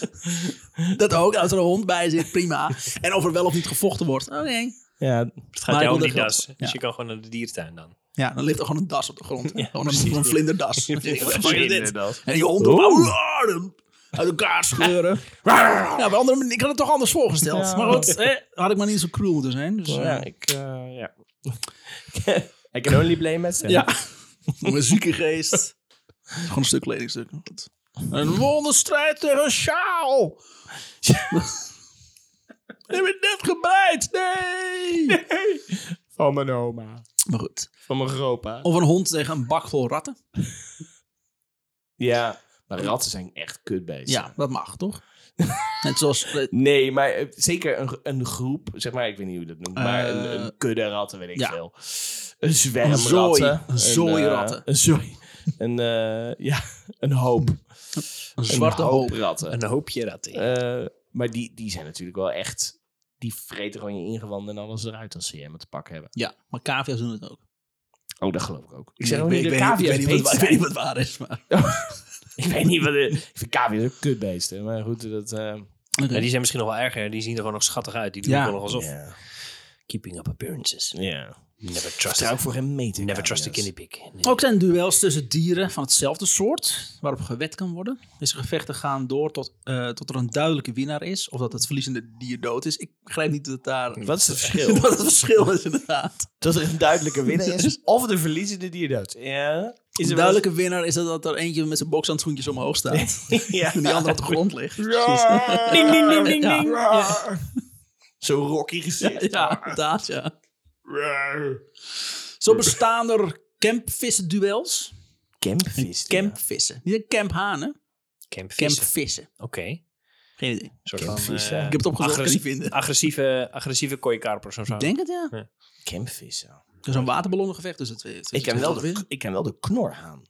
A: dat ook, als er een hond bij zit, prima. En of er wel of niet gevochten wordt. Oké.
B: Ja.
C: Het gaat
A: Maar
C: jou om
A: ik wil
C: die
A: er
C: das.
A: geld-
C: Dus
A: ja.
C: je kan gewoon naar de diertuin dan.
A: Ja, dan ligt er gewoon een das op de grond. gewoon een, een vlinderdas. Wat is dit?
B: Vlinderdas.
A: En die hond op uit elkaar scheuren. ja, bij andere manier, ik had het toch anders voorgesteld.
B: Ja.
A: Maar goed, eh, had ik maar niet zo cruel moeten zijn. Dus, eh,
B: Ja, ik... eh, ja. I can only blame myself.
A: Ja. Een zieke geest. Gewoon een stuk kledingstuk. Goed. Een wonderstrijd tegen een sjaal. Heb je net gebreid? Nee.
B: Van mijn oma.
A: Maar goed.
B: Van mijn gropa.
A: Of een hond tegen een bak vol ratten.
B: Ja, maar ratten zijn echt kutbeesten.
A: Ja, dat mag toch? Net zoals. eh,
B: Nee, maar eh, zeker een, een groep, zeg maar, ik weet niet hoe je dat noemt, maar een, een kudde ratten, weet ik
A: Eh, ja.
B: veel. Een zwerm
A: Een zooi.
B: ratten.
A: Een zooi
B: eh,
A: ratten.
B: Een zooi. Een, eh, ja, een hoop.
A: Een zwarte
B: een
A: hoop.
B: ratten.
C: Een hoopje dat
B: Eh, maar die, die zijn natuurlijk wel echt, die vreten gewoon je ingewanden en alles eruit als ze je helemaal te pakken hebben.
A: Ja, maar cavia's doen het ook.
B: Oh, dat geloof ik ook. Ik zeg ook
A: weet-
B: niet dat
A: weet- ik weet
B: cavia's
A: niet wat-
B: beesten
A: ik weet niet wat waar is, maar...
B: zijn. Ik weet niet wat... de- Ik vind cavia's ook kutbeesten, maar goed, dat... eh,
C: Ja, die zijn misschien nog wel erger. Die zien er gewoon nog schattig uit. Die doen
A: Ja.
C: gewoon nog alsof.
B: Ja.
C: Keeping up appearances.
B: Ja.
C: Never trust.
B: Trouw voor hem mee te
C: Never
B: cavia's.
C: trust a guinea pig. Nee.
A: Ook zijn er duels tussen dieren van hetzelfde soort, waarop gewed kan worden. Deze gevechten gaan door tot, eh, tot er een duidelijke winnaar is, of dat het verliezende dier dood is. Ik begrijp niet dat daar...
B: Wat is het verschil?
A: Wat het verschil is inderdaad.
B: dat er een duidelijke winnaar is of de verliezende die je dood. Ja. Is
A: Een duidelijke winnaar is dat- dat er eentje met zijn bokshandschoentjes omhoog staat.
B: Ja.
A: En die andere op de grond ligt.
B: Ja.
C: Ding, ding, ding, ding,
A: Ja.
C: ding.
B: Zo rocky gezicht.
A: Ja, inderdaad, ja. Zo bestaan er campvissenduels.
B: Campvis.
A: Campvissen. Niet een camphanen,
C: Campvissen.
A: campvissen.
C: Oké.
A: Geen idee. Ik
C: Een soort van,
B: Campvis,
C: eh,
B: ja. Ik
A: heb het opgezocht, kan je
C: agressief-
A: niet vinden.
C: agressieve, agressieve kooikarpers of zo.
A: Ik denk het, ja.
B: Campvis. ja.
A: Er is een dus waterballonnengevecht tussen twee. tussen
B: Ik ken,
A: twee
B: wel
A: soorten
B: de, ik ken wel de knorhaan.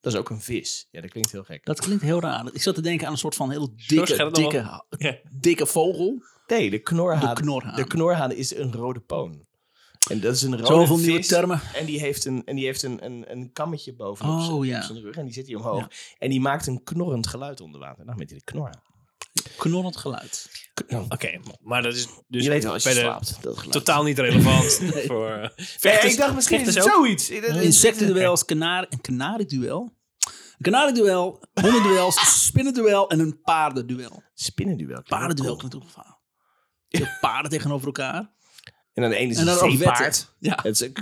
B: Dat is ook een vis. Ja, dat klinkt heel gek.
A: Dat klinkt heel raar. Ik zat te denken aan een soort van heel
C: gaat
A: dikke,
C: het
A: dikke,
C: Ja.
A: dikke vogel.
B: nee, de knorhaan.
A: De knorhaan.
B: de knorhaan is een rode poon. En dat is een rode
A: Zoveel
B: vis.
A: nieuwe termen.
B: En die heeft een, en die heeft een, een, een kammetje bovenop
A: Oh,
B: zijn,
A: ja.
B: op zijn rug. En die zit hier omhoog. En die maakt een knorrend geluid onder water. Nou, met die de knorhaan.
A: Knorrend geluid.
C: Oké, maar dat is dus
B: je weet wel, als je
C: bij de-
B: slaapt. Dat geluid.
C: totaal niet relevant voor... eh,
B: Nee,
C: vechters-
B: ik dacht misschien is
C: vechters
B: het
C: ook.
B: zoiets. Dat is-
A: Insectenduels, kanar een kanarieduel. Een kanarieduel, hondenduels, spinnenduel en een paardenduel.
B: Spinnenduel.
A: Paardenduel klinkt ook van. paarden tegenover elkaar.
B: En dan de ene is
A: En dan ook
B: een
A: wetten.
B: zeepaard.
A: Ja.
B: Het is een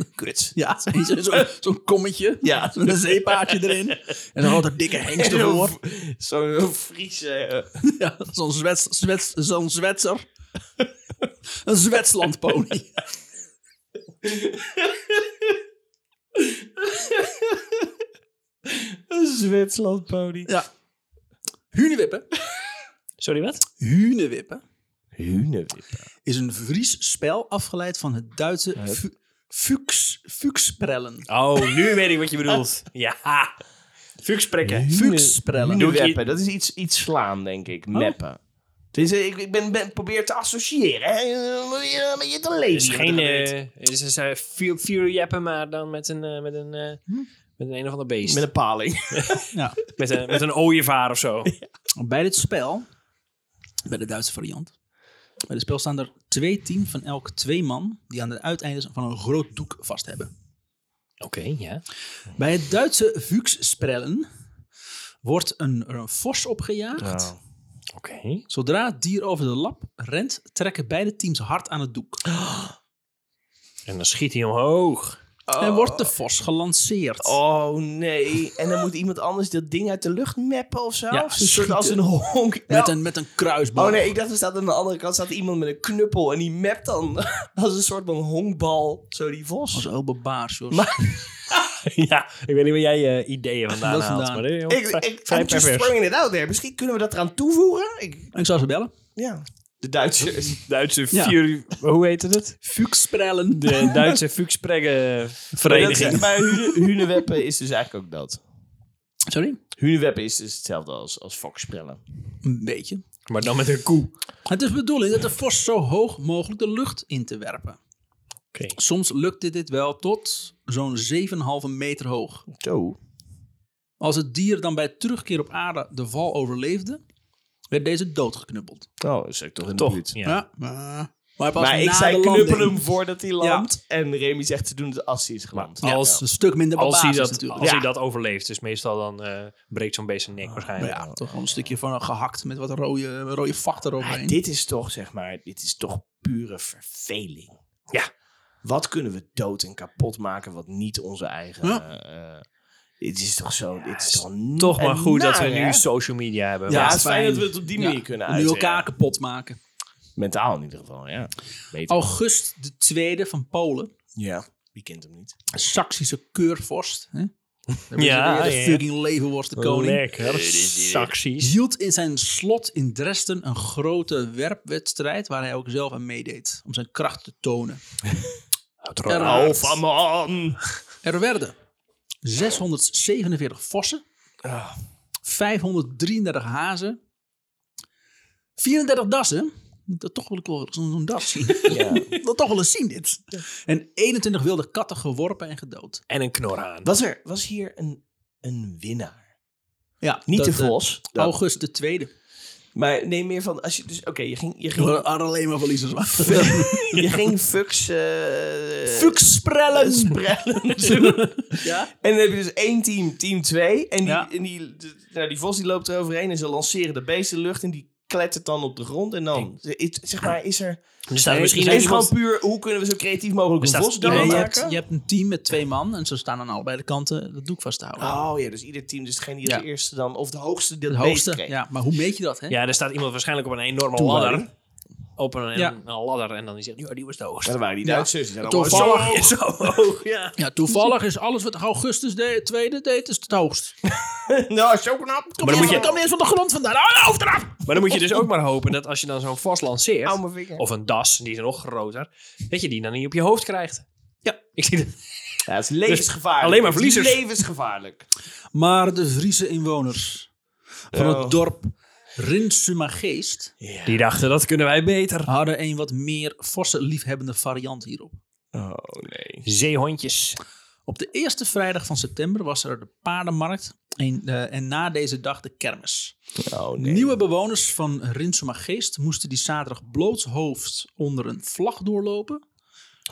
B: kut.
A: Ja, zo'n zo, zo'n kommetje.
B: Ja.
A: Met een zeepaardje erin. En dan altijd dikke hengst ervoor.
B: Zo'n Friese... eh,
A: Ja, zo'n zwets, zwets, zo'n zwetser. Een zwetslandpony.
B: Een Zwitserlandpony.
A: Ja. Hunewippen.
C: Sorry, wat?
A: Hunewippen.
B: Hunewip.
A: is een Fries spel afgeleid van het Duitse fu- fuchs, fuchsprellen.
C: Oh, nu weet ik wat je bedoelt. Ja. Vuursprekken.
A: Fuchsprellen.
C: Doe ik
B: Huneweppen, dat is iets, iets slaan, denk ik. Meppen. Het is, eh, ik ik ben, ben, probeer te associëren. hè. Eh, moet je- eh, Met je te lezen.
C: Het is geen... eh, Het is een vuurjappen, maar dan met een... eh, Met een, eh,
A: Hm.
C: met een een of ander beest.
B: Met een paling.
A: Ja.
C: Met een, met een ooievaar of zo.
A: Bij dit spel, bij de Duitse variant, bij dit spel staan er twee teams van elk twee man die aan de uiteindes van een groot doek vast hebben.
C: Oké, ja.
A: Bij het Duitse fuchsprellen wordt een, er een vos opgejaagd.
C: Oké.
A: Zodra het dier over de lap rent, trekken beide teams hard aan het doek.
C: En dan schiet hij omhoog.
A: En wordt de vos gelanceerd.
B: Oh nee. En dan moet iemand anders dat ding uit de lucht meppen of zo?
A: Ja,
B: Of een soort
A: schieten.
B: als een honk.
A: Met
B: Ja.
A: een, met een kruisboog.
B: Oh nee, ik dacht er staat aan de andere kant staat iemand met een knuppel en die mept dan als een soort van honkbal zo die
A: Dat
B: vos.
A: was heel barbaars, joh.
C: ja, ik weet niet waar jij je ideeën vandaan
A: Dat
C: haalt.
A: vandaan.
C: Maar, eh, joh,
B: Ik,
C: vrij-
B: ik,
C: vrij
B: I'm just
C: pervers.
B: throwing it out there. Misschien kunnen we dat eraan toevoegen. Ik,
A: Ik zou ze bellen.
B: ja. De Duitsers.
C: Duitse
A: Ja.
C: Fury... Hoe heette het?
A: Fuchsprellen.
C: De Duitse Fuchspregen Vereniging.
B: Maar Hune- Huneweppen is dus eigenlijk ook dat.
A: Sorry?
B: Huneweppen is dus hetzelfde als, als fokspellen.
A: Een beetje.
C: Maar dan met een koe.
A: Het is de bedoeling dat de vos zo hoog mogelijk de lucht in te werpen.
C: Oké.
A: Soms lukt dit- dit wel tot zo'n 7,5 meter hoog.
B: Zo.
A: Als het dier dan bij terugkeer op aarde de val overleefde, werd deze doodgeknuppeld.
B: Oh, is ook toch in de
C: Toch.
B: buurt.
C: Ja.
A: maar, maar, pas
B: Maar ik
A: na
B: zei
A: de landing.
B: knuppelen hem voordat hij landt. En Remy zegt ze doen het als hij is geland.
A: Ja,
C: Als-
A: dat is een stuk minder
C: Als, hij
A: barbaars
C: dat,
A: natuurlijk.
C: als
A: ja.
C: hij dat overleeft. Dus meestal dan eh, breekt zo'n beest zijn nek waarschijnlijk.
A: Ja, toch wel een stukje van eh, gehakt met wat rode, rode vacht
B: Maar
A: eroverheen.
B: dit is toch, zeg maar, dit is toch pure verveling.
C: Ja.
B: Wat kunnen we dood en kapot maken wat niet onze eigen...
A: Ja.
B: eh, eh, dit is toch zo... dit is toch,
C: Toch maar goed dat we
B: naar, nou, hè?
C: nu social media hebben.
B: Ja,
C: Want-
B: het is fijn dat we het op die manier kunnen
A: Nu
B: uiten,
A: elkaar
B: ja.
A: kapot maken.
B: Mentaal in ieder geval, ja. Beter.
A: August de tweede van Polen,
B: Ja. Wie kent hem niet?
A: een Saksische keurvorst, hè?
C: Ja,
A: ja,
C: ja.
A: fucking levenworst de koning.
C: Lekker. Saxies.
A: hield in zijn slot in Dresden een grote werpwedstrijd waar hij ook zelf aan meedeed om zijn kracht te tonen. Er,
B: Alpha man.
A: er werden 647 vossen,
C: Ah.
A: 533 hazen, 34 dassen. Dat toch wil ik wel zo'n zo'n das zien. Ik wil toch wel eens zien dit. En 21 wilde katten geworpen en gedood.
C: En een knor aan.
B: Was er was hier een, een winnaar?
A: Ja,
B: Niet
A: dat,
B: de
A: eh,
B: vos. Dat-
A: August de Tweede.
B: maar nee, meer van als je dus oké, je ging je ging,
A: Er waren alleen maar verliezers.
B: je ging fucks eh,
A: Fuksprellen!
B: sprellen doen.
A: Ja?
B: En dan heb je dus één team, team 2. En, die,
A: Ja.
B: en die, d- nou, die vos die loopt er overheen en ze lanceren de beest de lucht en die klettert dan op de grond. En dan, is- zeg maar, is er...
C: Er staat
A: Nee,
C: misschien
B: is
A: er
C: is
B: het gewoon puur, hoe kunnen we zo creatief mogelijk
C: Er
B: een
C: staat
B: vos
A: Nee,
B: dood
A: je,
B: maken?
A: hebt, je hebt een team met twee man en ze staan aan allebei de kanten dat doek vast te houden.
B: Oh ja, dus ieder team, dus degene die
A: Ja.
B: als eerste dan, of de hoogste, die
A: de
B: het beest
A: hoogste,
B: kreeg.
A: ja. Maar hoe meet je dat, hè?
C: Ja, er staat iemand waarschijnlijk op een enorme ladder. Op een, een ladder. En dan die zegt, ja, die was de hoogste.
B: Ja, dan waren die
A: Ja.
B: Duitsers. die zijn allemaal
A: Toevallig,
B: zo-
A: is,
C: Zo hoog, ja.
A: ja, toevallig is alles wat Augustus de tweede deed, is het hoogst. Kom
B: Nou, zo knap.
C: Maar
A: niet
C: dan moet
A: eens-
C: je-
A: kom niet eens van de grond vandaan. Oh, de hoofd eraf!
C: Maar dan moet je dus ook maar hopen dat als je dan zo'n vos lanceert...
B: Hou mijn vinger.
C: Of een das, die is nog groter. Dat je die dan niet op je hoofd krijgt. Ja. Ik zie dat.
B: Ja, het is levensgevaarlijk.
C: alleen maar
B: Het is
C: verliezers.
B: Levensgevaarlijk.
A: Maar de Friese inwoners van
B: Oh.
A: het dorp Rinsumageest
C: Die dachten, dat kunnen wij beter.
A: hadden een wat meer forse liefhebbende variant hierop.
B: Oh nee.
C: Zeehondjes.
A: Op de eerste vrijdag van september was er de paardenmarkt en, eh, en na deze dag de kermis.
B: Oh nee.
A: Nieuwe bewoners van Rinsumageest moesten die zaterdag blootshoofd onder een vlag doorlopen.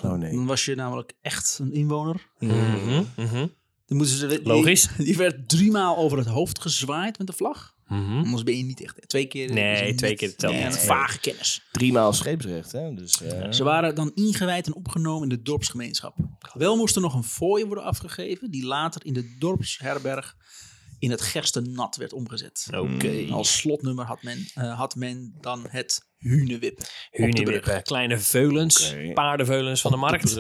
B: Oh nee.
A: Dan was je namelijk echt een inwoner.
C: Mhm, mhm,
A: Dan moesten ze, die-
C: Logisch.
A: Die, werd drie maal over het hoofd gezwaaid met de vlag.
C: mhm.
A: Anders ben je niet echt. Twee keer.
C: Nee,
A: is het
C: twee
A: niet.
C: keer telt
A: Nee,
C: niet.
A: dat is Vage kennis.
B: Driemaal scheepsrecht, hè? Dus, eh,
A: Ze waren dan ingewijd en opgenomen in de dorpsgemeenschap. Wel moest er nog een fooi worden afgegeven, die later in de dorpsherberg in het Gerstennat werd omgezet.
C: Oké.
A: Als slotnummer had men, eh, had men dan het Hunewip.
C: Hunebruppen, eh, kleine veulens,
B: Oké.
C: paardenveulens van de markt.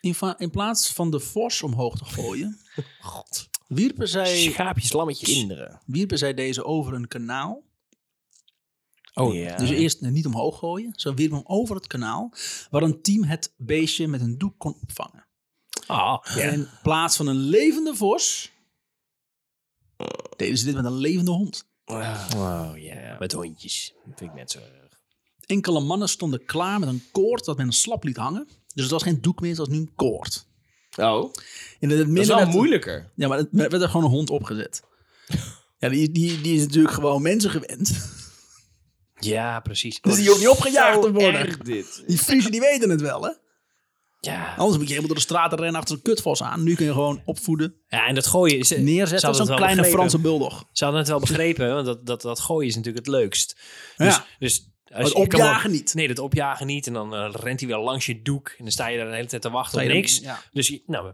A: In, va- in plaats van de vos omhoog te gooien, wierpen zij,
C: Schaapjes, lammetjes.
B: Kinderen.
A: wierpen zij deze over een kanaal.
C: Oh,
B: ja.
A: Dus eerst niet omhoog gooien, ze wierpen hem over het kanaal, waar een team het beestje met een doek kon opvangen.
C: Ah,
A: En in plaats van een levende vos, deden ze dit met een levende hond.
B: Oh ja.
C: Met hondjes.
B: Vind ik net zo erg.
A: Enkele mannen stonden klaar met een koord dat men een slap liet hangen. Dus het was geen doek meer, het was nu een koord.
B: Oh,
A: In het
B: dat
A: midden
B: is wel
A: werd-
B: moeilijker.
A: Ja, maar het- er werd er gewoon een hond opgezet. Ja, die, die, die is natuurlijk gewoon mensen gewend.
C: Ja, precies.
A: Dus die hoeft niet opgejaagd te worden.
B: Erg dit.
A: Die Friesen die weten het wel, hè?
C: Ja.
A: Anders moet je helemaal door de straat rennen achter een kutvos aan. Nu kun je gewoon opvoeden,
C: ja, en dat gooien is... Ze
A: neerzetten. Zo'n
C: hadden het wel
A: kleine
C: begrepen.
A: Franse bulldog.
C: Ze hadden het wel begrepen, want dat, dat, dat gooien is natuurlijk het leukst. Dus,
A: Ja.
C: dus als
A: Het
C: je- je kan wel-
A: opjagen niet.
C: Nee, dat opjagen niet. En dan eh, rent hij weer langs je doek. En dan sta je daar de hele tijd te wachten
A: Sta
C: op
A: je dan-
C: niks.
A: ja.
C: Dus je- nou,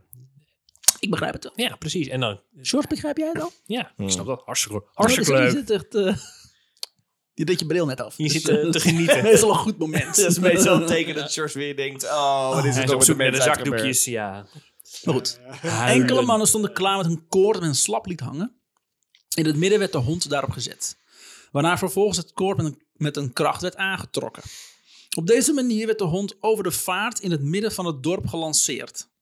A: Ik begrijp het wel.
C: ja, precies. En dan,
A: George, begrijp jij het al?
C: ja,
B: Hmm.
C: ik snap dat. Hartstikke, hartstikke
A: Je
C: leuk.
A: zit echt... eh, je deed je bril net af.
C: Je
A: Dus,
C: zit
A: eh,
C: eh, te
A: dat is
C: genieten.
A: meestal een goed moment.
B: Dat is meestal een teken dat George weer denkt, oh, wat is
C: Hij
B: het
C: is op
B: toch met de
C: zoek naar de
B: mensheid gebeurd?
C: zakdoekjes, ja.
A: Maar goed.
C: Huilen.
A: Enkele mannen stonden klaar met een koord en een slap liet hangen. In het midden werd de hond daarop gezet. Waarna vervolgens het koord met een, met een kracht werd aangetrokken. Op deze manier werd de hond over de vaart in het midden van het dorp gelanceerd.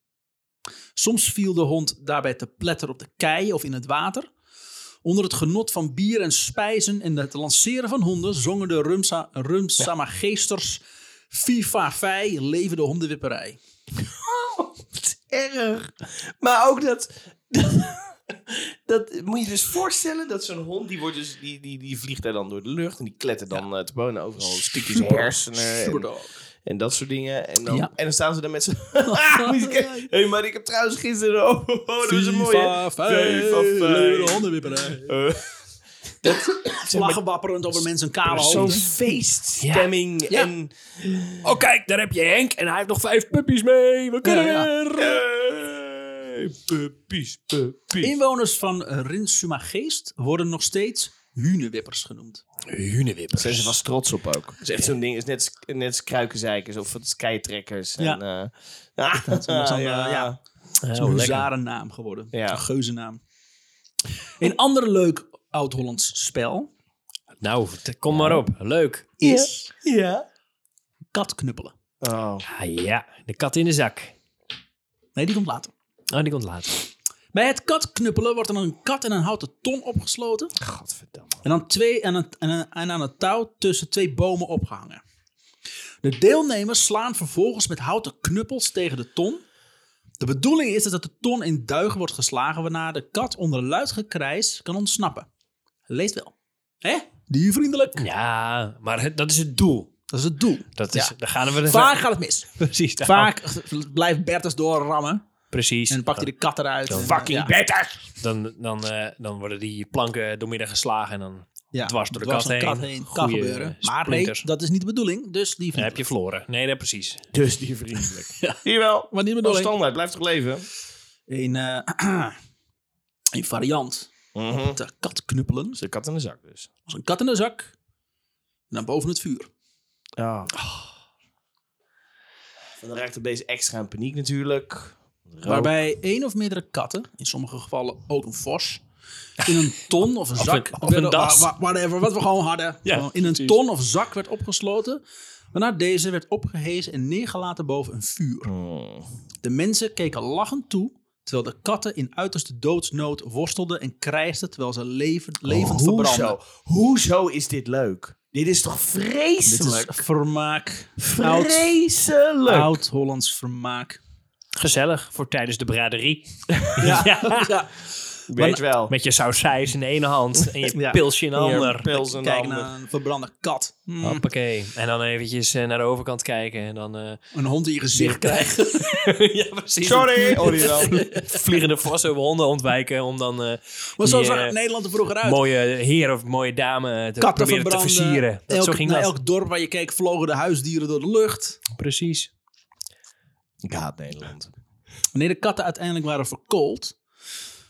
A: Soms viel de hond daarbij te pletter op de kei of in het water. Onder het genot van bier en spijzen en het lanceren van honden zongen de Rumsa, Rumsamageesters FIFA 5 leven de hondenwipperij.
B: Erg. Maar ook dat... Dat moet je dus voorstellen dat zo'n hond, die, wordt dus, die, die, die vliegt daar dan door de lucht en die klettert dan eh, te bonen overal stukjes hersenen en,
A: Superdog.
B: en dat soort dingen. En dan,
A: Ja.
B: en dan staan ze daar met z'n... Ah, Moet je kijken. Hé, maar ik heb trouwens gisteren... Oh, oh, dat was een mooie.
A: FIFA vijf,
B: FIFA vijf.
A: leuke hondenwipperij.
B: Eh,
A: Lachen wapperend over mensen een kale
B: Zo'n
A: hoofd.
B: feeststemming.
A: Oh. Ja.
B: En,
C: Oh, kijk, daar heb je Henk. En hij heeft nog vijf puppies mee. We kunnen
A: Ja,
C: weer.
B: puppies, puppies.
A: Inwoners van Rinsumageest worden nog steeds hunenwippers genoemd.
C: Hunewippers.
B: Zijn ze was trots op ook. Dat is echt zo'n ding. is net, als- net als kruikenzeikers of het is keitrekkers. En,
A: Ja.
B: eh, ah,
A: Dat was dan, eh, ja. is
C: Oh,
A: een
C: lekker.
A: huzarennaam geworden.
B: Ja.
A: Een geuzennaam. Een ander leuk Oud-Hollands spel
C: Nou, t- kom maar op. Leuk.
A: is
B: Ja.
A: katknuppelen.
B: Oh.
C: Ah ja, de kat in de zak.
A: Nee, die komt later.
C: Oh, die komt later.
A: Bij het katknuppelen wordt dan een kat in een houten ton opgesloten.
B: Godverdamme.
A: En aan, twee, en, aan, en, aan, en aan het touw tussen twee bomen opgehangen. De deelnemers slaan vervolgens met houten knuppels tegen de ton. De bedoeling is dat de ton in duigen wordt geslagen, waarna de kat onder luid gekrijs kan ontsnappen. Leest wel. Hè? Diervriendelijk.
C: Ja, maar het- dat is het doel.
A: Dat is het doel.
C: Dat is,
A: Ja.
C: Daar gaan we er
A: Vaak gaat het mis.
C: Precies. daar- oh,
A: Vaak blijft Bertus doorrammen.
C: Precies.
A: En dan pakt hij de kat eruit.
C: Dan
A: en,
C: fucking
A: ja.
C: Dan, dan, eh, dan worden die planken doormidden geslagen en dan
A: Ja,
C: dwars door de
A: dwars
C: kat
A: een
C: heen.
A: Kan
C: Goeie
A: gebeuren. Maar nee,
C: splinters.
A: dat is niet de bedoeling. Dus die
C: dan heb je verloren. Nee, nee, precies.
B: Dus die vriendelijk. ja. Jawel.
A: Maar niet de
B: Oh,
A: bedoeling.
B: standaard, blijft toch leven?
A: een, eh, een variant.
B: Mhm.
A: De kat knuppelen.
B: Dus de kat in de zak dus.
A: Als een kat in de zak. En dan boven het vuur.
B: Ja. En dan raakt het beest extra in paniek natuurlijk. Rook.
A: Waarbij één of meerdere katten, in sommige gevallen ook een vos, in een ton of een
C: Of
A: zak,
C: een- of een das.
A: wa- wa- whatever, wat we gewoon hadden,
C: Ja,
A: gewoon in een
C: precies.
A: ton of zak werd opgesloten. Waarna deze werd opgehezen en neergelaten boven een vuur.
C: Oh.
B: Hmm.
A: De mensen keken lachend toe, terwijl de katten in uiterste doodsnood worstelden en krijsten terwijl ze
C: Oh,
A: leven, levend verbrandden.
B: Hoezo? Hoezo is dit leuk? Dit is toch
A: Dit is
B: vreselijk?
A: vermaak. Oud-
B: vreselijk!
A: Oud-Hollands vermaak.
C: Gezellig voor tijdens de braderie.
A: Ja,
C: Ja.
A: ja.
B: Weet wel.
C: Met je sausijs in de ene hand en je
A: Ja.
C: pilsje in de
B: Hier,
C: ander.
B: pils en
A: Kijk
B: handen.
A: naar een verbrande kat. Mm,
C: Hoppakee. En dan eventjes eh, naar de overkant kijken en dan... eh,
A: Een hond in je gezicht krijgen.
C: ja, precies.
B: Sorry! Oh, die wel.
C: Vliegende vossen over honden ontwijken om dan eh,
A: Maar zo
C: die,
A: zag
C: eh,
A: het Nederland er vroeger uit.
C: mooie heer of mooie dame te
A: Katten
C: proberen te
A: verbranden. nou,
C: versieren. Dat
A: elk,
C: zo ging
A: naar
C: dat.
A: elk dorp waar je keek vlogen de huisdieren door de lucht.
C: Precies.
B: Ik haat Nederland.
A: Wanneer de katten uiteindelijk waren verkoold,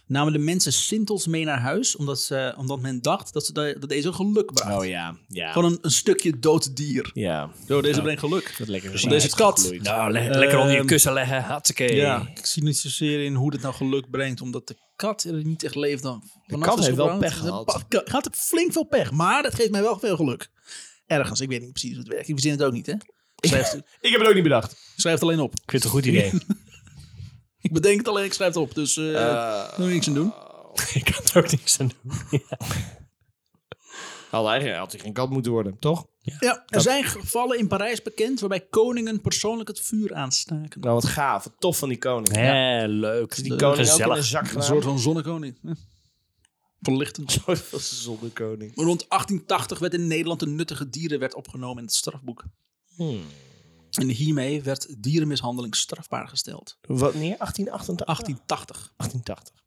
A: namen de mensen sintels mee naar huis. Omdat, ze, omdat men dacht dat, ze, de- dat deze geluk bracht.
B: Oh ja, ja.
A: Gewoon een, een stukje dood dier.
B: Ja,
A: Zo, deze brengt geluk.
B: dat lekker
A: Want deze kat.
C: Nou, le- lekker onder je
A: Ehm,
C: kussen leggen. Hartstikke.
A: Ja, ik zie niet zozeer in hoe dit nou geluk brengt, omdat de kat er niet echt leeft dan. De
B: kat heeft wel pech gehad.
A: Gaat er flink veel pech, maar dat geeft mij wel veel geluk. Ergens, ik weet niet precies hoe het werkt. Ik verzin het ook niet, hè? Ik schrijf, het-
B: Ik heb het ook niet bedacht.
A: ik schrijf het alleen op.
C: Ik vind het een goed idee.
A: Ik bedenk het alleen, ik schrijf het op. Dus eh daar moet je niks aan doen.
C: ik kan er ook niks aan doen.
B: Had hij, had hij geen kat moeten worden, toch?
A: Ja, er zijn gevallen in Parijs bekend waarbij koningen persoonlijk het vuur aanstaken.
B: Nou, wat gaaf. Wat tof van die koning.
C: Hé, leuk.
B: Die koning ook in
C: Gezellig.
B: een zak
A: een
B: gedaan.
A: soort van zonnekoning. Hè? Verlichtend.
B: soort van zonnekoning.
A: Rond 1880 werd in Nederland de nuttige dieren werd opgenomen in het strafboek. Hmm. En hiermee werd dierenmishandeling strafbaar gesteld.
B: Wat meer? 1888?
A: 1880.
B: 1880.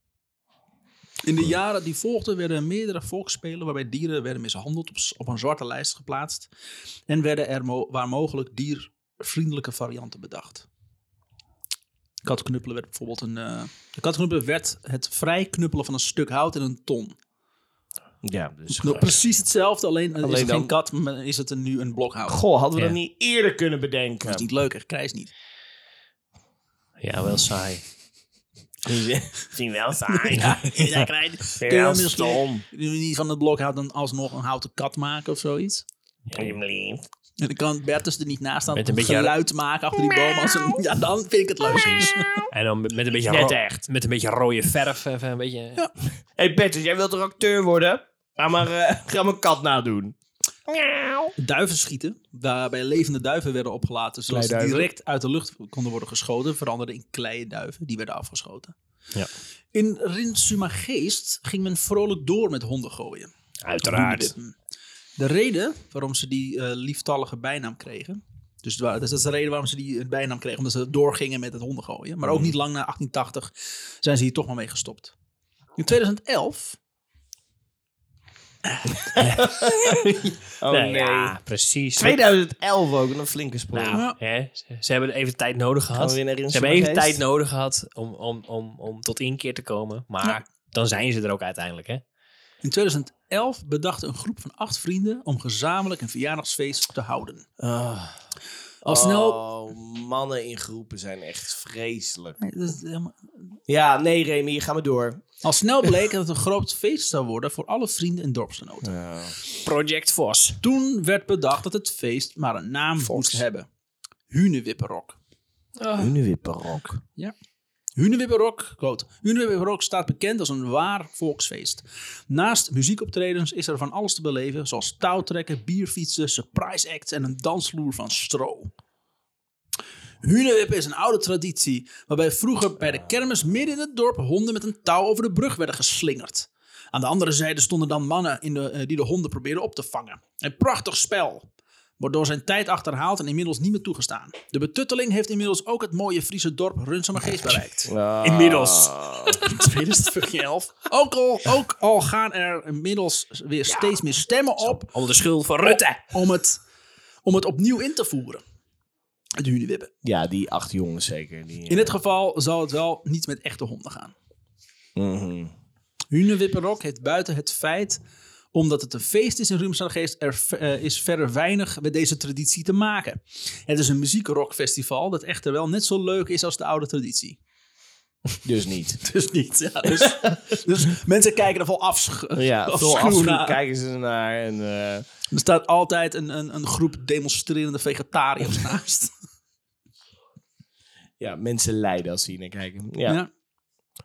A: In de jaren die volgden werden meerdere volksspelen waarbij dieren werden mishandeld op, s- op een zwarte lijst geplaatst. En werden er mo- waar mogelijk diervriendelijke varianten bedacht. Katknuppelen werd bijvoorbeeld een. eh, de katknuppelen werd het vrij knuppelen van een stuk hout in een ton.
B: Ja, dus...
A: Nou, precies hetzelfde, alleen, eh, is
B: Alleen
A: het
B: dan-
A: geen kat, maar is het een, nu een blok hout.
B: Goh, hadden we
C: Ja.
B: dat niet eerder kunnen
A: Dat is
B: bedenken?
A: niet leuk, echt krijs niet.
C: Ja, wel saai.
B: Misschien wel saai.
A: Ja, krijs. Kun je
B: Heel
A: misschien-
B: stom.
A: Kunnen we niet van het blok hout dan alsnog een houten kat maken of zoiets?
B: Alsjeblieft.
A: En dan kan Bertus er niet naast staan.
C: Met
A: Met
C: een
A: een
C: beetje-
A: geluid maken achter die boom. Als een, ja, dan vind ik het leuk.
C: Precies. En dan met, met een beetje...
B: Net
C: ro-
B: echt.
C: Met een beetje rode verf. Even een beetje... Ja.
B: Hé hey Bertus, jij wilt toch acteur worden? Ga maar, eh, ga maar kat nadoen.
A: Duiven schieten. Waarbij levende duiven werden opgelaten. Zodat ze
B: Kleiduiven.
A: direct uit de lucht konden worden geschoten. Veranderde in kleiduiven. Die werden afgeschoten.
C: Ja.
A: In Rinsumageest ging men vrolijk door met honden gooien.
C: Uiteraard.
A: De reden waarom ze die eh, lieftallige bijnaam kregen. Dus wa- dus dat is de reden waarom ze die bijnaam kregen. Omdat ze doorgingen met het honden gooien. Maar ook
C: Mhm.
A: niet lang na 1880 zijn ze hier toch maar mee gestopt. In 2011
B: Oh
C: Nou Ja, precies.
B: 2011 ook, een flinke sprong.
C: Nou,
A: Ja.
C: hè, ze, ze hebben even tijd nodig
B: Gaan
C: gehad.
B: we weer
C: Ze
B: naar Rinsen
C: hebben even
B: Geest?
C: tijd nodig gehad om, om, om, om tot inkeer te komen. Maar dan zijn ze er ook uiteindelijk, hè?
A: In 2011 bedacht een groep van acht vrienden om gezamenlijk een verjaardagsfeest te houden. Al snel...
B: Oh, mannen in groepen zijn echt vreselijk.
A: Nee, dat is helemaal-
B: Ja, nee Remy, ga maar door.
A: Al snel bleek dat het een groot feest zou worden voor alle vrienden en dorpsgenoten.
C: Project Vos.
A: Toen werd bedacht dat het feest maar een naam moest hebben. Hunewipperok.
B: Hunewipperok.
A: Hunewipperok, quote. Hunewipperok staat bekend als een waar volksfeest. Naast muziekoptredens is er van alles te beleven, zoals touwtrekken, bierfietsen, surprise acts en een dansvloer van stro. Hunewip is een oude traditie, waarbij vroeger bij de kermis midden in het dorp honden met een touw over de brug werden geslingerd. Aan de andere zijde stonden dan mannen in de, eh, die de honden probeerden op te vangen. Een prachtig spel, wordt door zijn tijd achterhaald en inmiddels niet meer toegestaan. De betutteling heeft inmiddels ook het mooie Friese dorp Runsumergeest bereikt.
B: Ah.
C: Inmiddels.
A: 2011. Ook al, ook al gaan er inmiddels weer steeds meer stemmen op
C: Onder de schuld van Rutte.
A: om het, om het opnieuw in te voeren. Het hunewibben.
B: Ja, die acht jongens zeker. Die,
A: In dit geval zal het wel niet met echte honden gaan.
B: Mhm.
A: Hunewipperok heeft buiten het feit, omdat het een feest is in Rumstelgeest, er v- eh, is verder weinig met deze traditie te maken. Het is een muziekrockfestival dat echter wel net zo leuk is als de oude traditie.
B: Dus niet.
A: Dus niet. Ja, dus, dus mensen kijken er vol afschuw
B: Ja, veel
A: afschuw
B: afschuw
A: naar.
B: kijken ze naar. En, eh,
A: Er staat altijd een, een, een groep demonstrerende vegetariërs naast.
B: ja, mensen lijden als ze hier naar kijken. Ja.
A: Ja.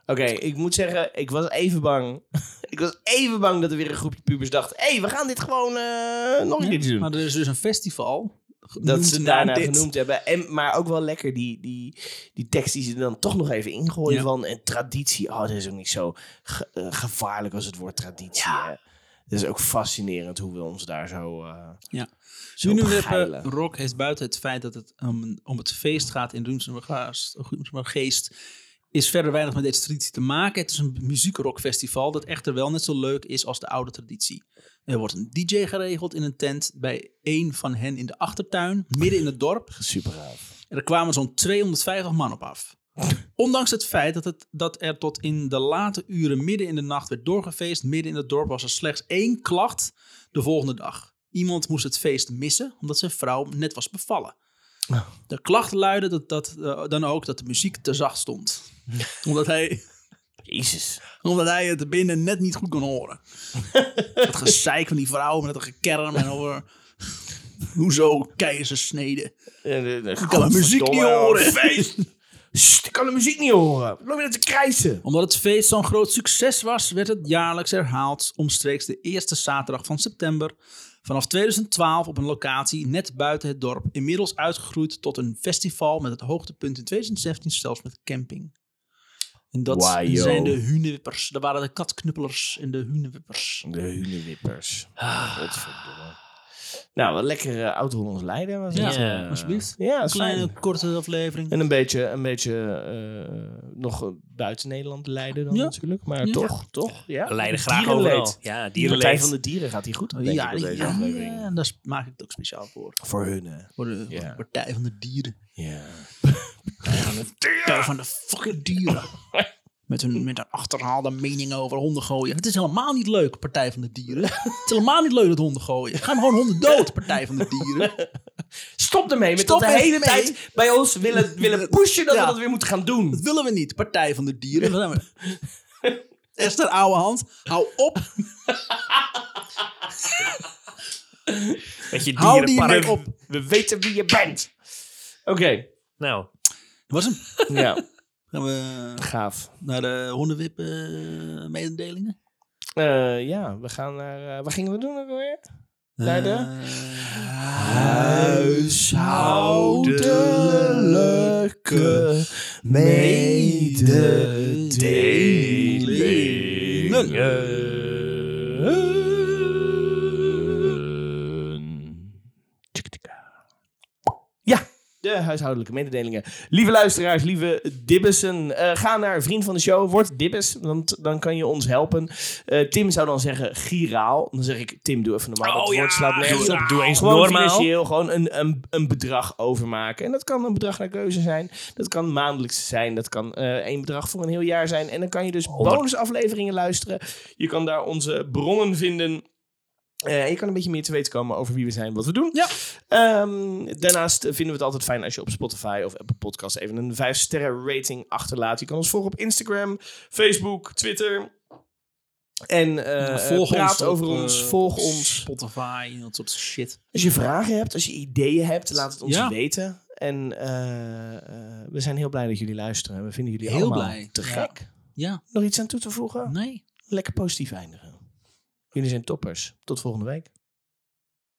B: Oké, ik moet zeggen, ik was even bang. ik was even bang dat er weer een groepje pubers dacht... hé, hey, we gaan dit gewoon eh, nog een keertje doen.
A: Maar er is dus een festival.
B: dat
A: genoemd
B: ze
A: naar
B: daarna
A: dit.
B: genoemd hebben. En, maar ook wel lekker die, die, die tekst die ze er dan toch nog even ingooien
A: Ja.
B: van... en traditie, oh, dat is ook niet zo ge- eh, gevaarlijk als het woord traditie. Hè? Dat is ook fascinerend hoe we ons daar zo... eh,
A: Ja.
B: Zo
A: Hunewipper
B: geilen.
A: eh, Rock heeft buiten het feit dat het om, om het feest gaat in Roemsmergeest... is verder weinig met deze traditie te maken. Het is een muziekrockfestival dat echter wel net zo leuk is als de oude traditie. Er wordt een DJ geregeld in een tent bij één van hen in de achtertuin, midden in het dorp.
B: super gaaf.
A: En er kwamen zo'n 250 man op af. Ondanks het feit dat, het, dat er tot in de late uren midden in de nacht werd doorgefeest, midden in het dorp was er slechts één klacht de volgende dag. Iemand moest het feest missen omdat zijn vrouw net was bevallen. De klacht luidde dat, dat, eh, dan ook dat de muziek te zacht stond. Omdat hij,
B: Jezus.
A: omdat hij het binnen net niet goed kon horen. Dat gezeik van die vrouw met dat gekerm en over... Hoezo keizersneden?
B: Ik
A: kan de muziek niet horen.
B: Feest. Sst, ik kan de muziek niet horen. Loop je dat te krijsen?
A: Omdat het feest zo'n groot succes was, werd het jaarlijks herhaald omstreeks de eerste zaterdag van september. Vanaf 2012 op een locatie net buiten het dorp, inmiddels uitgegroeid tot een festival met het hoogtepunt in 2017 zelfs met camping. En dat
B: Wauw, joh.
A: zijn de hunewippers. Dat waren de katknuppelers en de hunewippers.
B: De hunenwippers.
C: Ah.
B: Godverdomme. Nou, wat lekker eh, oud-Hollands Leiden was het.
C: Ja.
A: Alsjeblieft.
B: Ja,
A: Een
B: is fijn.
A: kleine korte aflevering.
B: En een beetje, een beetje eh, nog eh, buiten Nederland leiden dan
A: Ja.
B: natuurlijk. Maar
A: Ja.
B: toch, toch. Ja.
C: Leiden graag
B: Dierenleed.
C: overal. Ja,
B: Die Partij
C: dierenleed.
B: van de Dieren gaat hier goed. op, denk
A: Oh, ja,
B: ik, op
A: ja,
B: deze
A: ja,
B: aflevering.
A: en daar maak ik het ook speciaal voor.
B: Voor hun. hè.
A: Voor de, voor de
B: Ja.
A: Partij van de Dieren.
B: Ja.
A: Partij van de fucking dieren. Met hun, met hun achterhaalde mening over honden gooien. Het is helemaal niet leuk, Partij van de Dieren. Het is helemaal niet leuk dat honden gooien. Ga maar gewoon honden dood, Partij van de Dieren.
B: Stop ermee met
A: Stop
B: dat de hele
A: ermee.
B: tijd bij ons willen, willen pushen dat
A: Ja.
B: we dat weer moeten gaan
A: Dat
B: doen.
A: willen we niet, Partij van de Dieren. Daar zijn we. Esther, ouwe hand, hou op.
C: Met je
A: Hou die
C: dierenpark.
A: nek op.
B: We weten wie je bent. Oké.
C: Nou,
A: Dat was hem.
B: Ja,
A: Gaan we
B: gaaf.
A: naar de hondenwip eh, mededelingen?
B: Eh, ja, we gaan naar... eh, wat gingen we doen ook alweer? Naar de-
A: Eh, Huishoudelijke
B: Ja, de huishoudelijke mededelingen. Lieve luisteraars, lieve dibbissen, eh, ga naar vriend van de show, word dibbes, want dan kan je ons helpen. Eh, Tim zou dan zeggen giraal. Dan zeg ik, Tim, doe even normaal.
C: Oh
B: dat
C: ja,
B: woord slaat nergens
C: doe-
B: op.
C: doe eens
B: Gewoon
C: normaal.
B: financieel, gewoon een, een, een bedrag overmaken. En dat kan een bedrag naar keuze zijn. Dat kan maandelijks zijn. Dat kan eh, één bedrag voor een heel jaar zijn. En dan kan je dus bonusafleveringen luisteren. Je kan daar onze bronnen vinden. Eh, en je kan een beetje meer te weten komen over wie we zijn en wat we doen.
A: Ja.
B: Ehm, daarnaast vinden we het altijd fijn als je op Spotify of Apple Podcasts even een 5-sterren rating achterlaat. Je kan ons volgen op Instagram, Facebook, Twitter. En eh,
A: volg
B: praat
A: ons op,
B: over
A: eh,
B: ons, volg
A: op
B: ons.
A: Spotify en dat soort shit.
B: Als je vragen hebt, als je ideeën hebt, laat het ons
A: Ja.
B: weten. En eh, eh, we zijn heel blij dat jullie luisteren. We vinden jullie
A: Heel
B: allemaal
A: blij.
B: te
A: Ja.
B: gek.
A: Ja,
B: Nog iets aan toe te voegen?
A: nee.
B: Lekker positief eindigen. Jullie zijn toppers. Tot volgende week.